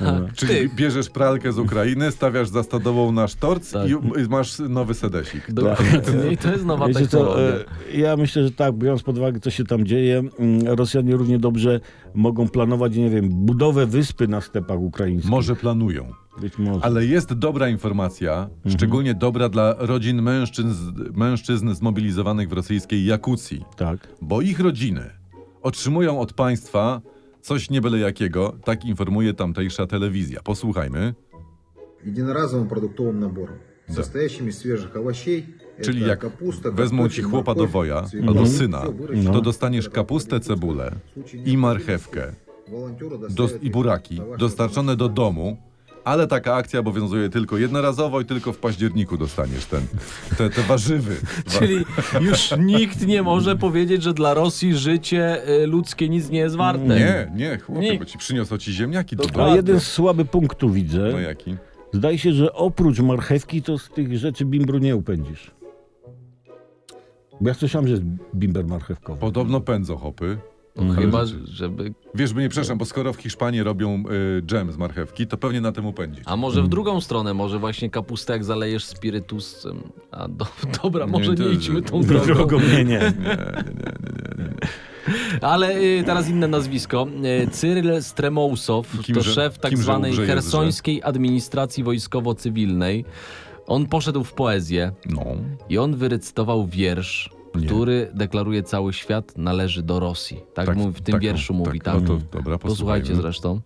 S1: no,
S3: Tak,
S1: Czyli
S3: ty.
S1: bierzesz pralkę z Ukrainy, stawiasz za stodową na sztorc
S3: Tak.
S1: i i masz nowy sedesik.
S3: Dokładnie. I to jest nowa
S2: Wiecie co,
S3: technologia.
S2: e, ja myślę, że tak, biorąc pod uwagę, co się tam dzieje, mm, Rosjanie równie dobrze mogą planować, nie wiem, budowę wyspy na stepach ukraińskich.
S1: Może planują.
S2: Być może.
S1: Ale jest dobra informacja, szczególnie dobra dla rodzin mężczyzn, mężczyzn zmobilizowanych w rosyjskiej Jakucji,
S2: Tak.
S1: bo ich rodziny otrzymują od państwa coś nie byle jakiego, tak informuje tamtejsza telewizja. Posłuchajmy.
S7: единоразовым продуктовым набором,
S1: Да.
S7: состоящим из свежих овощей,
S1: Czyli
S7: это
S1: jak
S7: капуста,
S1: wezmą ci
S7: картофель,
S1: chłopa do
S7: морковь,
S1: woja
S7: цветы.
S1: albo
S7: Всё
S1: syna,
S7: выращено.
S1: to dostaniesz kapustę, cebulę i marchewkę
S7: Волонтеры
S1: dos-
S7: доставят
S1: i
S7: их
S1: buraki
S7: на ваш
S1: dostarczone do domu, ale taka akcja obowiązuje tylko jednorazowo i tylko w październiku dostaniesz ten, te, te warzywy. Wa-
S3: Czyli już nikt nie może powiedzieć, że dla Rosji życie y, ludzkie nic nie jest warte.
S1: Nie, nie, chłopie,
S3: Nie.
S1: bo ci przyniosło ci ziemniaki do
S3: Dokładnie.
S2: A
S1: domu.
S2: jeden słaby punkt tu widzę.
S1: No jaki?
S2: Zdaje się, że oprócz marchewki to z tych rzeczy bimbru nie upędzisz. Bo ja słyszałem, że jest bimber marchewkowy.
S1: Podobno pędzą hopy. Mhm.
S3: No, chyba, żeby...
S1: Wiesz, by nie przepraszam, bo skoro w Hiszpanii robią y, dżem z marchewki, to pewnie na tym upędzić.
S3: A może w drugą stronę, może właśnie kapustę jak zalejesz spirytusem. A do, *laughs* dobra, może nie,
S1: to-
S3: idźmy tą
S1: nie,
S3: drogą.
S2: Drogą mnie *laughs* nie.
S3: Ale y, teraz inne nazwisko. Y, Cyryl Stremousow to
S1: Kimże-
S3: szef tak
S1: kimże
S3: zwanej
S1: łże jest, że?
S3: hersońskiej administracji wojskowo-cywilnej. On poszedł w poezję
S1: No.
S3: i on wyrecytował wiersz,
S1: Nie.
S3: który deklaruje cały świat należy do Rosji. Tak,
S1: Tak,
S3: mówi, w tym
S1: tak,
S3: wierszu
S1: no,
S3: mówi,
S1: tak,
S3: tak?
S1: no to dobra,
S3: Posłuchajcie
S1: posłuchajmy.
S3: zresztą.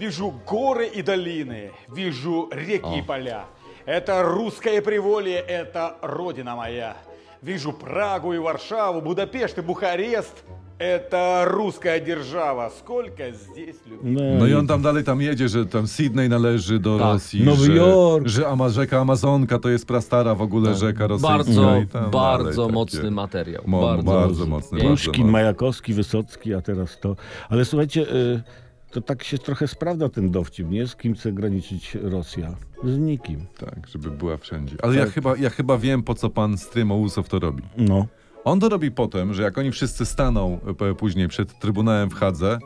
S8: Вижу горы и долины, вижу реки и поля. Это русское приволье, это родина моя. Вижу Прагу и Варшаву, Будапешт и Бухарест. Это русская держава. Сколько здесь людей.
S1: No i on tam dalej tam jedzie, że tam Sydney należy do
S3: Tak.
S1: Rosji.
S2: Nowy
S1: że,
S2: Jork.
S1: Że Ama, rzeka Amazonka to jest prastara w ogóle rzeka rosyjska.
S3: Tak. Bardzo,
S1: No i tam dalej
S3: bardzo
S1: takie.
S3: mocny materiał.
S1: Mo-
S3: bardzo,
S1: bardzo
S3: mocny.
S1: mocny,
S3: Piękny.
S1: bardzo.
S2: Puszkin, Majakowski, Wysocki, a teraz to. Ale słuchajcie, y, to tak się trochę sprawdza ten dowcip, nie? Z kim chce graniczyć Rosja? Z nikim.
S1: Tak, żeby była wszędzie. Ale
S3: Tak.
S1: ja, chyba, ja chyba wiem, po co pan Strymołusow to robi.
S2: No.
S1: On to robi potem, że jak oni wszyscy staną p- później przed Trybunałem w Hadze,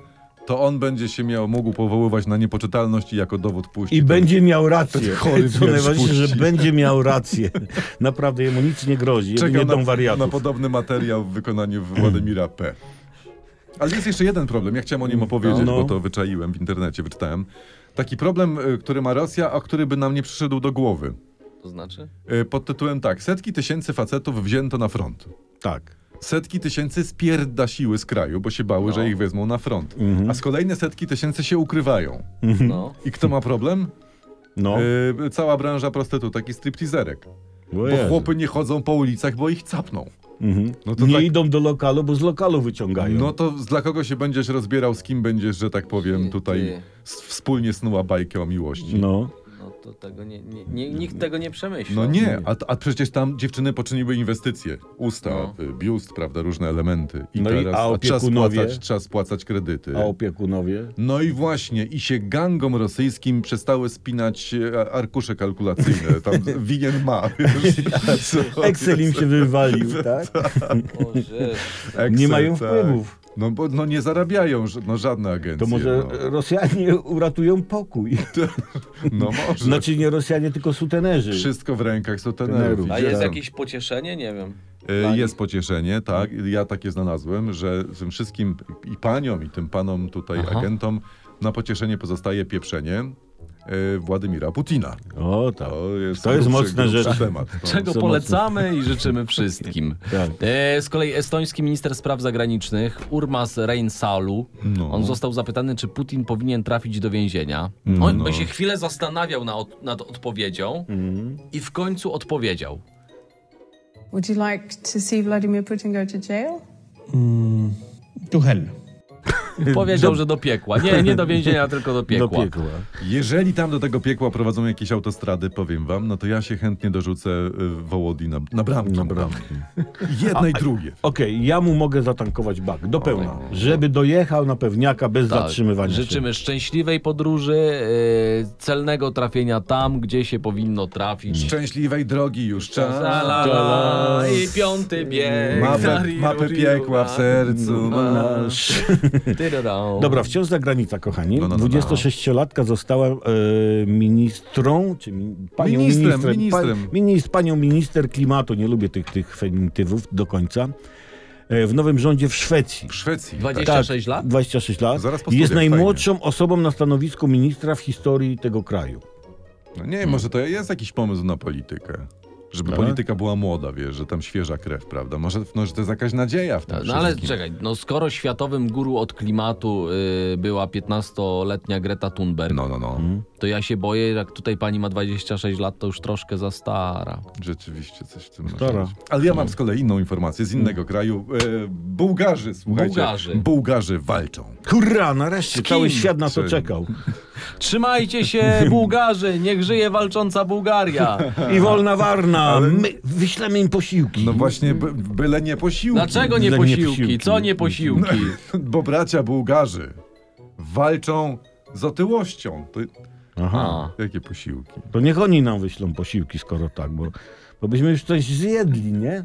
S1: to on będzie się miał mógł powoływać na niepoczytalność i jako dowód puścić.
S2: I
S1: ten-
S2: będzie miał rację.
S1: chory
S2: Co
S1: wiersz
S2: najważniejsze, że
S1: puści.
S2: będzie miał rację. *laughs* Naprawdę jemu nic nie grozi. Czekam nie
S1: Czekam
S2: dom
S1: na, na
S2: wariatów.
S1: podobny materiał w wykonaniu Władimira P. Ale jest jeszcze jeden problem, ja chciałem o nim opowiedzieć,
S2: No.
S1: bo to wyczaiłem w internecie, wyczytałem. Taki problem, y, który ma Rosja, a który by nam nie przyszedł do głowy.
S3: To znaczy?
S1: Y, Pod tytułem tak, setki tysięcy facetów wzięto na front.
S2: Tak.
S1: Setki tysięcy spierdasiły z kraju, bo się bały,
S3: No.
S1: że ich wezmą na front.
S2: Mhm.
S1: A z kolejne setki tysięcy się ukrywają. *laughs*
S3: No.
S1: I kto ma problem?
S2: No.
S1: Y, cała branża prostytutek i striptizerek.
S2: Bo
S1: Bo chłopy nie chodzą po ulicach, bo ich capną. No to
S2: nie
S1: dla-
S2: idą do lokalu, bo z lokalu wyciągają.
S1: No to z- dla kogo się będziesz rozbierał, z kim będziesz, że tak powiem,
S3: Ty, ty.
S1: tutaj s- wspólnie snuła bajkę o miłości.
S2: no.
S3: No to tego nie, nie, nie, nikt tego nie przemyślał.
S1: No nie, a, a przecież tam dziewczyny poczyniły inwestycje. Usta,
S3: No.
S1: y, biust, prawda, różne elementy. I
S2: No i-
S1: teraz
S2: a
S1: trzeba,
S2: opiekunowie?
S1: spłacać, trzeba spłacać kredyty.
S2: A opiekunowie?
S1: No i właśnie, i się gangom rosyjskim przestały spinać e, arkusze kalkulacyjne. Tam winien ma. Co?
S2: Excel im się wywalił, *laughs* tak?
S3: O, że-
S1: Excel,
S2: nie mają wpływów.
S1: No bo no nie zarabiają ż- no, żadne agencje.
S2: To może e,
S1: no.
S2: Rosjanie *laughs* uratują pokój.
S1: no może.
S2: Znaczy nie Rosjanie, tylko sutenerzy.
S1: Wszystko w rękach
S2: Tenerów.
S1: sutenerów.
S3: A
S2: Gdzie
S3: jest
S2: tam?
S3: jakieś pocieszenie? Nie wiem.
S1: E, Jest pocieszenie, tak. Ja takie znalazłem, że tym wszystkim i paniom, i tym panom tutaj
S3: Aha.
S1: agentom na pocieszenie pozostaje pieprzenie e, Władimira Putina.
S2: O tak.
S1: To jest,
S2: To jest
S1: grubszy-
S2: mocna
S1: grubszy
S2: rzecz.
S1: temat. No.
S3: Czego
S2: są
S3: polecamy i życzymy wszystkim.
S2: Tak.
S3: E, Z kolei estoński minister spraw zagranicznych Urmas Reinsalu,
S1: No.
S3: on został zapytany, czy Putin powinien trafić do więzienia. On by się chwilę zastanawiał na, od- nad odpowiedzią i w końcu odpowiedział.
S9: Would you like to see Vladimir Putin go to jail?
S5: To hell.
S3: Powiedział, że do piekła. Nie, nie do więzienia, tylko do piekła.
S2: Do piekła.
S1: Jeżeli tam do tego piekła prowadzą jakieś autostrady, powiem wam, no to ja się chętnie dorzucę y, Wołodi na, na bramki.
S2: Na
S1: *laughs*
S2: bramki.
S1: Jedne i drugie.
S2: Okej, ja mu mogę zatankować bak do pełna, żeby dojechał na pewniaka bez
S3: Tak.
S2: zatrzymywania
S3: Życzymy szczęśliwej podróży, e, celnego trafienia tam, gdzie się powinno
S1: Mm.
S3: trafić.
S1: Szczęśliwej drogi już czas.
S3: La, la, la, I piąty bieg.
S1: Mapę,
S3: Tariru,
S1: mapę
S3: riru,
S1: piekła w
S3: ra.
S1: sercu. No, ma.
S2: się.
S3: Tyryrau.
S2: Dobra, wciąż za granica, kochani.
S1: No, no, no, no.
S2: 26-latka została e, ministrą, czy mi, panią
S1: Ministrem,
S2: ministrem,
S1: ministrem.
S2: Pa, minis, panią minister klimatu. Nie lubię tych, tych feminitywów do końca. E, w nowym rządzie w Szwecji.
S1: W Szwecji. Tak.
S3: 26
S2: Tak.
S3: lat?
S2: 26 lat.
S1: Zaraz po
S2: jest
S1: studiach,
S2: najmłodszą osobą na stanowisku ministra w historii tego kraju.
S1: No nie, może to jest jakiś pomysł na politykę. Żeby
S2: Tak.
S1: polityka była młoda, wiesz, że tam świeża krew, prawda? Może no, że to jest jakaś nadzieja w tym
S3: No ale
S1: Tak, wszystkim.
S3: czekaj, no skoro światowym guru od klimatu y, była 15-letnia Greta Thunberg,
S1: No, no, no.
S2: Mhm.
S3: to ja się boję, jak tutaj pani ma 26 lat, to już troszkę za stara.
S1: Rzeczywiście coś w tym
S2: Stara.
S1: może być. No. Ale ja mam z kolei inną informację z innego kraju. E, Bułgarzy, słuchajcie.
S3: Mm. Bułgarzy.
S1: Bułgarzy walczą.
S2: Hurra, nareszcie,
S1: kim?
S2: cały świat na to
S1: Czy-
S2: czekał.
S3: Trzymajcie się, Bułgarzy! Niech żyje walcząca Bułgaria!
S2: I wolna warna, my wyślemy im posiłki.
S1: No właśnie, by, byle nie posiłki.
S3: Mm. Dlaczego nie
S2: Dla
S3: posiłki?
S2: nieposiłki.
S3: Co nie posiłki?
S1: *laughs* Bo bracia Bułgarzy walczą z otyłością. To,
S2: Aha.
S3: A.
S1: jakie posiłki?
S2: To niech oni nam wyślą posiłki, skoro tak, bo, bo byśmy już coś zjedli, nie?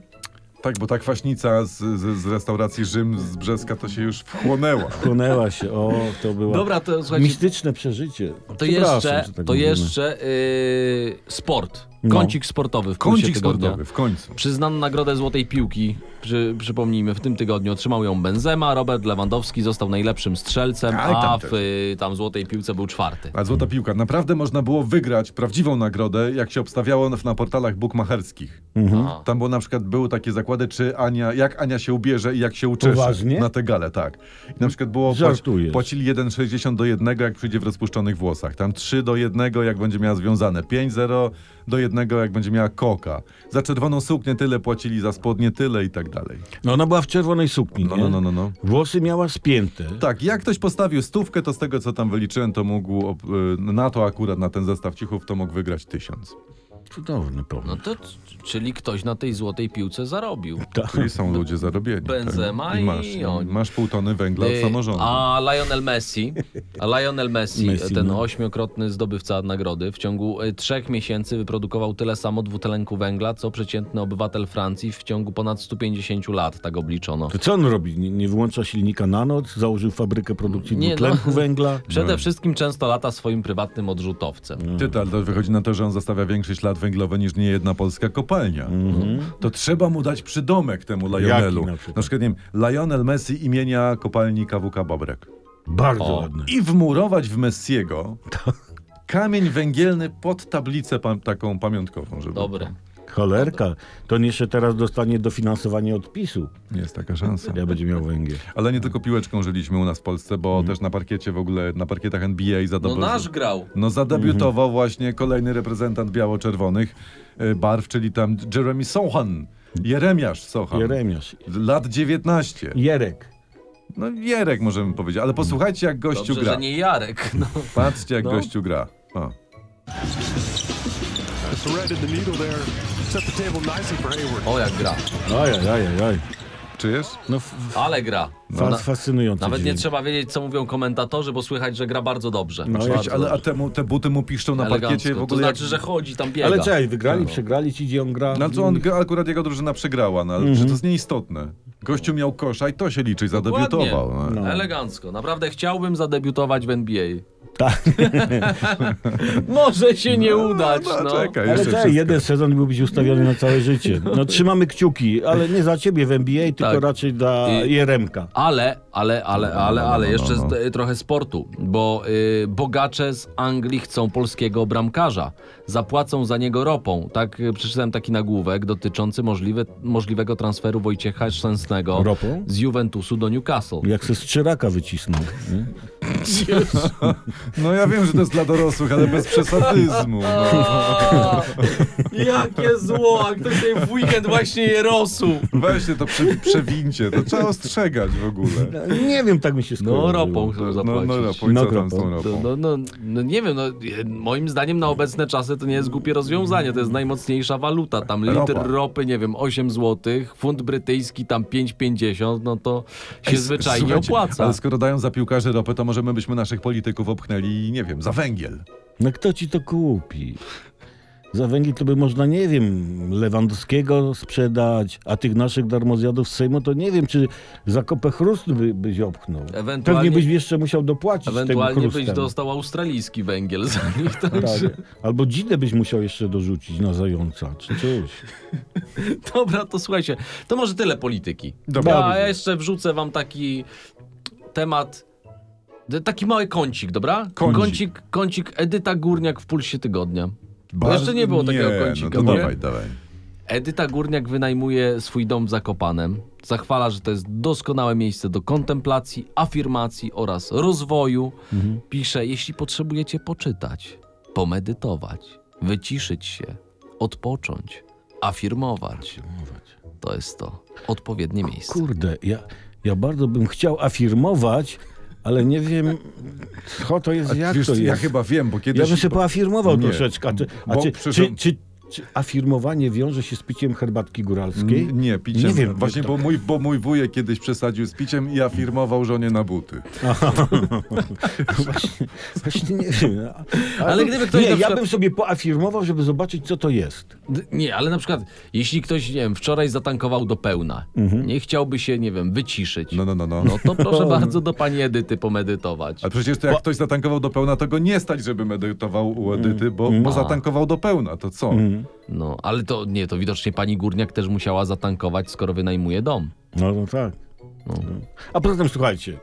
S1: Tak, bo ta kwaśnica z, z, z restauracji Rzym z Brzeska to się już wchłonęła.
S2: Konęła się, o, to było
S3: Dobra, to słuchajcie,
S2: mistyczne przeżycie.
S3: to
S2: Przepraszam,
S3: jeszcze,
S2: że tak
S3: to
S2: mówimy.
S3: jeszcze y, sport.
S2: No.
S3: Kącik sportowy w kursie
S1: Kącik
S3: tygodnia.
S1: sportowy, w końcu.
S3: Przyznano nagrodę Złotej Piłki, przy, przypomnijmy, w tym tygodniu otrzymał ją Benzema, Robert Lewandowski został najlepszym strzelcem,
S1: Ale tam
S3: a w
S1: też.
S3: y, tam Złotej Piłce był czwarty.
S1: A złota piłka. Naprawdę można było wygrać prawdziwą nagrodę, jak się obstawiało na, na portalach bukmacherskich.
S2: Mhm.
S3: A.
S1: Tam było na przykład były takie zakłady, czy Ania, jak Ania się ubierze i jak się uczesze
S2: Poważnie?
S1: na te gale, tak. I na przykład było
S2: Żartujesz.
S1: płacili 1,60 do 1, jak przyjdzie w rozpuszczonych włosach. Tam 3 do 1, jak będzie miała związane. 5,0 do jednego, jak będzie miała koka. Za czerwoną suknię tyle płacili, za spodnie tyle i tak dalej.
S2: No ona była w czerwonej sukni,
S1: No,
S2: nie?
S1: no, no, no, no.
S2: Włosy miała spięte.
S1: Tak, jak ktoś postawił stówkę, to z tego, co tam wyliczyłem, to mógł, ob- y, na to akurat, na ten zestaw cichów, to mógł wygrać tysiąc.
S2: Cudowny pomysł.
S3: No to, c- czyli ktoś na tej złotej piłce zarobił.
S1: Czyli są ludzie zarobieni.
S3: Benzema
S1: tak.
S3: i
S1: masz,
S3: oni.
S1: masz pół tony węgla od
S3: Y,
S1: samorządu.
S3: A Lionel Messi, a Lionel Messi,
S2: Messi,
S3: ten
S2: no.
S3: ośmiokrotny zdobywca nagrody, w ciągu y, trzech miesięcy wyprodukował tyle samo dwutlenku węgla, co przeciętny obywatel Francji w ciągu ponad 150 lat, tak obliczono.
S2: To co on robi? Nie, nie wyłącza silnika na noc? Założył fabrykę produkcji
S3: Nie, no.
S2: dwutlenku
S3: *laughs*
S2: węgla?
S3: Przede wszystkim często lata swoim prywatnym odrzutowcem.
S1: Ty, to, ale to wychodzi na to, że on zostawia większy ślad węglowy niż niejedna polska kopalnia. To trzeba mu dać przydomek temu Lionelu.
S2: Jaki na
S1: Mhm. Na
S2: przykład?
S1: przykład, nie wiem, Lionel Messi imienia kopalni KWK Bobrek.
S2: Bardzo
S3: O.
S2: ładne.
S1: I wmurować w Messiego kamień węgielny pod tablicę pa- taką pamiątkową, żeby...
S3: Dobre.
S2: Cholerka. To nie jeszcze teraz dostanie dofinansowanie od PiSu.
S1: Jest taka szansa.
S2: Ja będzie miał węgiel.
S1: *laughs* Ale nie tylko piłeczką żyliśmy u nas w Polsce, bo też na parkiecie w ogóle, na parkietach NBA za
S3: No
S1: dobrą...
S3: nasz grał.
S1: No zadebiutował
S3: Mhm.
S1: właśnie kolejny reprezentant biało-czerwonych e, barw, czyli tam Jeremy Sohan. Jeremiasz Sohan.
S2: Jeremiasz.
S1: Lat 19.
S2: Jerek.
S1: No Jerek możemy powiedzieć, ale posłuchajcie jak gościu
S3: Dobrze,
S1: gra.
S3: że nie Jarek. *laughs* No.
S1: Patrzcie jak
S3: No.
S1: gościu gra. O.
S3: O jak gra.
S2: Oj, oj, oj, oj.
S1: Czujesz?
S2: No, f- f-
S3: Ale gra.
S2: fas-
S3: Na-
S2: fascynujący
S3: Nawet nie
S2: dźwięk.
S3: trzeba wiedzieć, co mówią komentatorzy, bo słychać, że gra bardzo dobrze.
S2: No,
S1: Cześć,
S3: bardzo
S1: ale a
S3: dobrze.
S1: temu, te buty mu piszczą na parkiecie w
S3: Elegancko.
S1: ogóle
S3: To znaczy,
S1: jak...
S3: że chodzi, tam biega.
S2: Ale czekaj, wygrali,
S3: No.
S2: przegrali, ci gdzie on gra?
S1: No co on, akurat jego drużyna przegrała, no ale
S3: Mhm.
S1: że to jest nieistotne. Gościu miał kosza i to się liczy, zadebiutował.
S3: Ładnie.
S1: No.
S3: Elegancko. Naprawdę chciałbym zadebiutować w NBA.
S2: Tak.
S3: *laughs* Może się nie udać.
S1: no,
S3: No,
S1: czekaj,
S2: Ale
S1: jeszcze
S2: czekaj,
S1: wszystko.
S2: jeden sezon byłbyś ustawiony na całe
S3: *laughs*
S2: życie. No trzymamy kciuki, ale nie za ciebie w NBA, tylko
S3: Tak.
S2: raczej dla
S3: I-
S2: Jeremka.
S3: Ale, ale, ale, ale, ale,
S1: no,
S3: jeszcze
S1: no, no.
S3: z- y, trochę sportu, bo y, bogacze z Anglii chcą polskiego bramkarza. Zapłacą za niego ropą. Tak y, przeczytałem taki nagłówek dotyczący możliwe, możliwego transferu Wojciecha Szczęsnego
S2: Ropą?
S3: z Juventusu
S1: *laughs*
S3: do Newcastle.
S2: Jak se z czyraka wycisnął. nie?
S1: No ja wiem, że to jest dla dorosłych, ale
S3: *laughs*
S1: bez przesadyzmu. No.
S3: O, jakie zło, a ktoś tutaj w weekend właśnie je rosł.
S1: Weźcie to przy, przewincie, to trzeba ostrzegać w ogóle.
S2: No, Nie wiem, tak mi się skojarzyło.
S3: No ropą chcą
S1: No,
S3: zapłacić.
S1: no ropą, i co tam z tą
S2: No,
S1: ropą?
S3: No, no, no nie wiem, no, je- moim zdaniem na obecne czasy to nie jest głupie rozwiązanie, to jest najmocniejsza waluta, tam
S1: Ropa.
S3: litr ropy, nie wiem, 8 zł, funt brytyjski tam 5,50, no to się zwyczajnie
S1: Słuchajcie,
S3: opłaca.
S1: Ale skoro dają za piłkarzy ropę, to może my byśmy naszych polityków obchnęli, nie wiem, za węgiel.
S2: No kto ci to kupi? Za węgiel to by można, nie wiem, Lewandowskiego sprzedać, a tych naszych darmozjadów z Sejmu to nie wiem, czy za kopę chrustu by, byś opchnął.
S3: Ewentualnie-
S2: Pewnie byś jeszcze musiał dopłacić
S3: Ewentualnie
S2: tego
S3: byś
S2: chrustem.
S3: dostał australijski węgiel za nich, to,
S2: Tak. Albo dzidę byś musiał jeszcze dorzucić na zająca, czy coś.
S3: *laughs* Dobra, to słuchajcie, to może tyle polityki.
S1: Dobra.
S3: Ja jeszcze wrzucę wam taki temat, d- taki mały kącik, dobra?
S1: Kącik.
S3: Kącik, kącik Edyta Górniak w Pulsie Tygodnia.
S1: Ba-
S3: jeszcze nie było takiego kącika,
S1: No to
S3: nie?
S1: dawaj, dawaj.
S3: Edyta Górniak wynajmuje swój dom w Zakopanem. Zachwala, że to jest doskonałe miejsce do kontemplacji, afirmacji oraz rozwoju. Pisze, jeśli potrzebujecie poczytać, pomedytować, wyciszyć się, odpocząć, afirmować. To jest to odpowiednie miejsce.
S2: Kurde, ja, ja bardzo bym chciał afirmować, ale nie wiem, co to jest, jak
S1: Wiesz,
S2: to jest.
S1: ja chyba wiem, bo kiedyś...
S2: Ja bym się poafirmował
S1: Nie,
S2: troszeczkę. A, czy, a
S1: bo
S2: czy,
S1: przyszedł-
S2: czy, czy, czy afirmowanie wiąże się z piciem herbatki góralskiej?
S1: N- Nie, piciem.
S2: Nie wiem.
S1: Właśnie,
S2: to-
S1: bo mój, bo mój wujek kiedyś przesadził z piciem i afirmował żonie na buty.
S2: *laughs* Właśnie, właśnie nie wiem. no, A-
S3: Ale gdyby ktoś
S2: Nie,
S3: na
S2: ja
S3: przykład-
S2: bym sobie poafirmował, żeby zobaczyć, co to jest.
S3: D- Nie, ale na przykład, jeśli ktoś, nie wiem, wczoraj zatankował do pełna, nie chciałby się, nie wiem, wyciszyć,
S1: No, no, no, no.
S3: no to proszę bardzo do pani Edyty pomedytować.
S1: Ale przecież to jak ktoś zatankował do pełna, to go nie stać, żeby medytował u Edyty, bo, bo zatankował do pełna. To co?
S3: No, ale to nie, to widocznie pani Górniak też musiała zatankować, skoro wynajmuje dom.
S2: No, no tak.
S3: No.
S2: A poza tym, słuchajcie,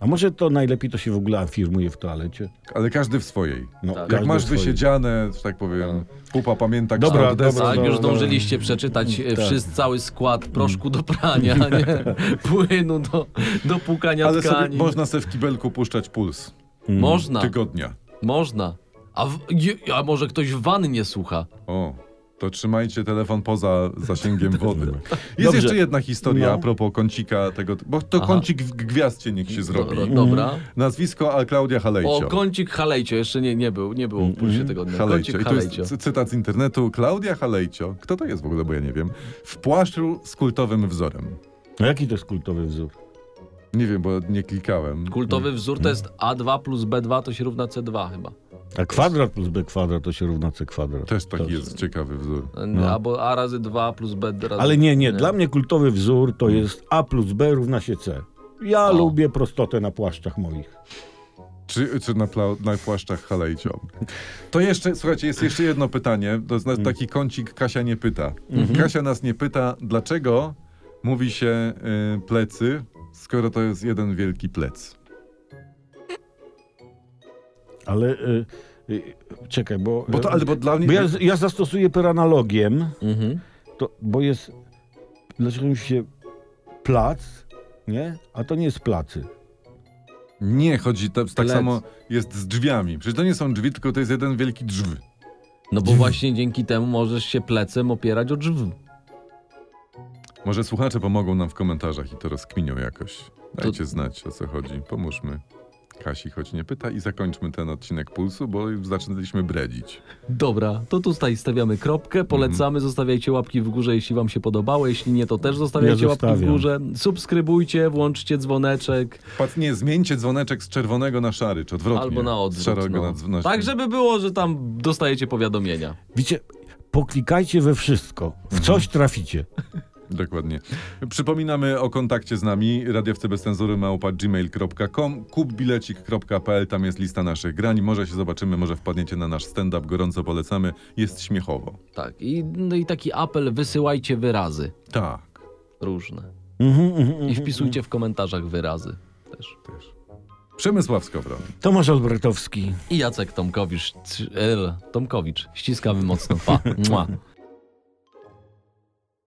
S2: a może to najlepiej to się w ogóle afirmuje w toalecie?
S1: Ale każdy w swojej.
S2: No,
S1: Jak
S2: każdy
S1: masz
S2: swoje.
S1: wysiedziane, że tak powiem, pupa pamięta
S2: Dobra, no,
S1: kształt deski.
S2: dobra,
S3: tak, już
S2: dobra.
S3: zdążyliście przeczytać e,
S2: Tak.
S3: wszyscy, cały skład proszku do
S1: *laughs*
S3: prania, nie? płynu do, do płukania
S1: Ale sobie,
S3: tkanin. Mm. No.
S1: można sobie w kibelku puszczać puls
S3: Można,
S1: tygodnia.
S3: można. A, w, je- a może ktoś w wannie słucha?
S1: O, to trzymajcie telefon poza zasięgiem wody. Jest
S2: *laughs* Dobrze.
S1: jeszcze jedna historia
S2: No.
S1: a propos kącika tego, bo to
S3: Aha.
S1: kącik w- gwiazdcie niech się zrobi. Mm.
S3: Dobra. dobra.
S1: Nazwisko a Klaudia
S3: O,
S1: Halejcio.
S3: kącik halejcio. Jeszcze nie, nie był, nie było w pulsie tego dnia.
S1: Mm-hmm. Halejcio.
S3: Kącik
S1: I to jest
S3: halejcio.
S1: cy- cytat z internetu. Klaudia Halejcio, kto to jest w ogóle, bo ja nie wiem, w płaszczu z kultowym wzorem.
S2: No jaki to jest kultowy wzór?
S1: Nie wiem, bo nie klikałem.
S3: Kultowy
S1: Mm.
S3: wzór to jest A2 plus B2 to się równa C2 chyba.
S2: A kwadrat plus b kwadrat to się równa c kwadrat.
S1: Też taki jest ciekawy wzór.
S3: Albo A razy 2 plus B razy...
S2: Ale nie, nie, dla mnie kultowy wzór to
S1: Hmm.
S2: jest a plus b równa się c. Ja
S1: No.
S3: O.
S2: lubię prostotę na płaszczach moich.
S1: Czy, czy na, pla- na płaszczach halejcią. To jeszcze, słuchajcie, jest jeszcze jedno pytanie. To znaczy taki kącik Kasia nie pyta. Kasia nas nie pyta, dlaczego mówi się y, plecy, skoro to jest jeden wielki plec.
S2: Ale y, y, czekaj, bo. y,
S1: Bo to, ale bo dla mnie...
S2: bo ja, ja zastosuję peranalogiem,
S3: Mhm.
S2: to, bo jest. Dlaczego mi się plac, nie? A to nie jest placy.
S1: Nie, chodzi to, tak
S3: Plec.
S1: samo jest z drzwiami. Przecież to nie są drzwi, tylko to jest jeden wielki drzw.
S3: No bo właśnie dzięki temu możesz się plecem opierać o drzwi.
S1: Może słuchacze pomogą nam w komentarzach i to rozkminią jakoś. Dajcie znać, o co chodzi. Pomóżmy. Kasi choć nie pyta i zakończmy ten odcinek Pulsu, bo już zaczęliśmy bredzić.
S3: Dobra, to tutaj stawiamy kropkę, polecamy, zostawiajcie łapki w górze, jeśli wam się podobało, jeśli nie, to też zostawiajcie
S2: Ja
S3: łapki w
S2: zostawiam.
S3: górze, subskrybujcie, włączcie dzwoneczek,
S1: Pat, nie, zmieńcie dzwoneczek z czerwonego na szary, czy odwrotnie.
S3: albo na
S1: Z
S3: odwrót.
S1: szarego na, dzw-
S3: No.
S1: na
S3: Tak, żeby było, że tam dostajecie powiadomienia.
S2: Widzicie, poklikajcie we wszystko.
S1: Mhm.
S2: W coś traficie.
S1: Dokładnie. Przypominamy o kontakcie z nami. Radiowcy bez cenzury małpa gmail.com kupbilecik.pl Tam jest lista naszych grań. Może się zobaczymy, może wpadniecie na nasz stand-up. Gorąco polecamy. Jest śmiechowo.
S3: Tak, i, no i taki apel, wysyłajcie wyrazy
S1: Tak.
S3: różne
S2: Mhm, mhm, mhm.
S3: i wpisujcie w komentarzach wyrazy też.
S1: Przemysław Skowron.
S2: Tomasz Olbratowski.
S3: *laughs* I Jacek Tomkowicz, c- el, Tomkowicz, ściskamy mocno, pa, Mua.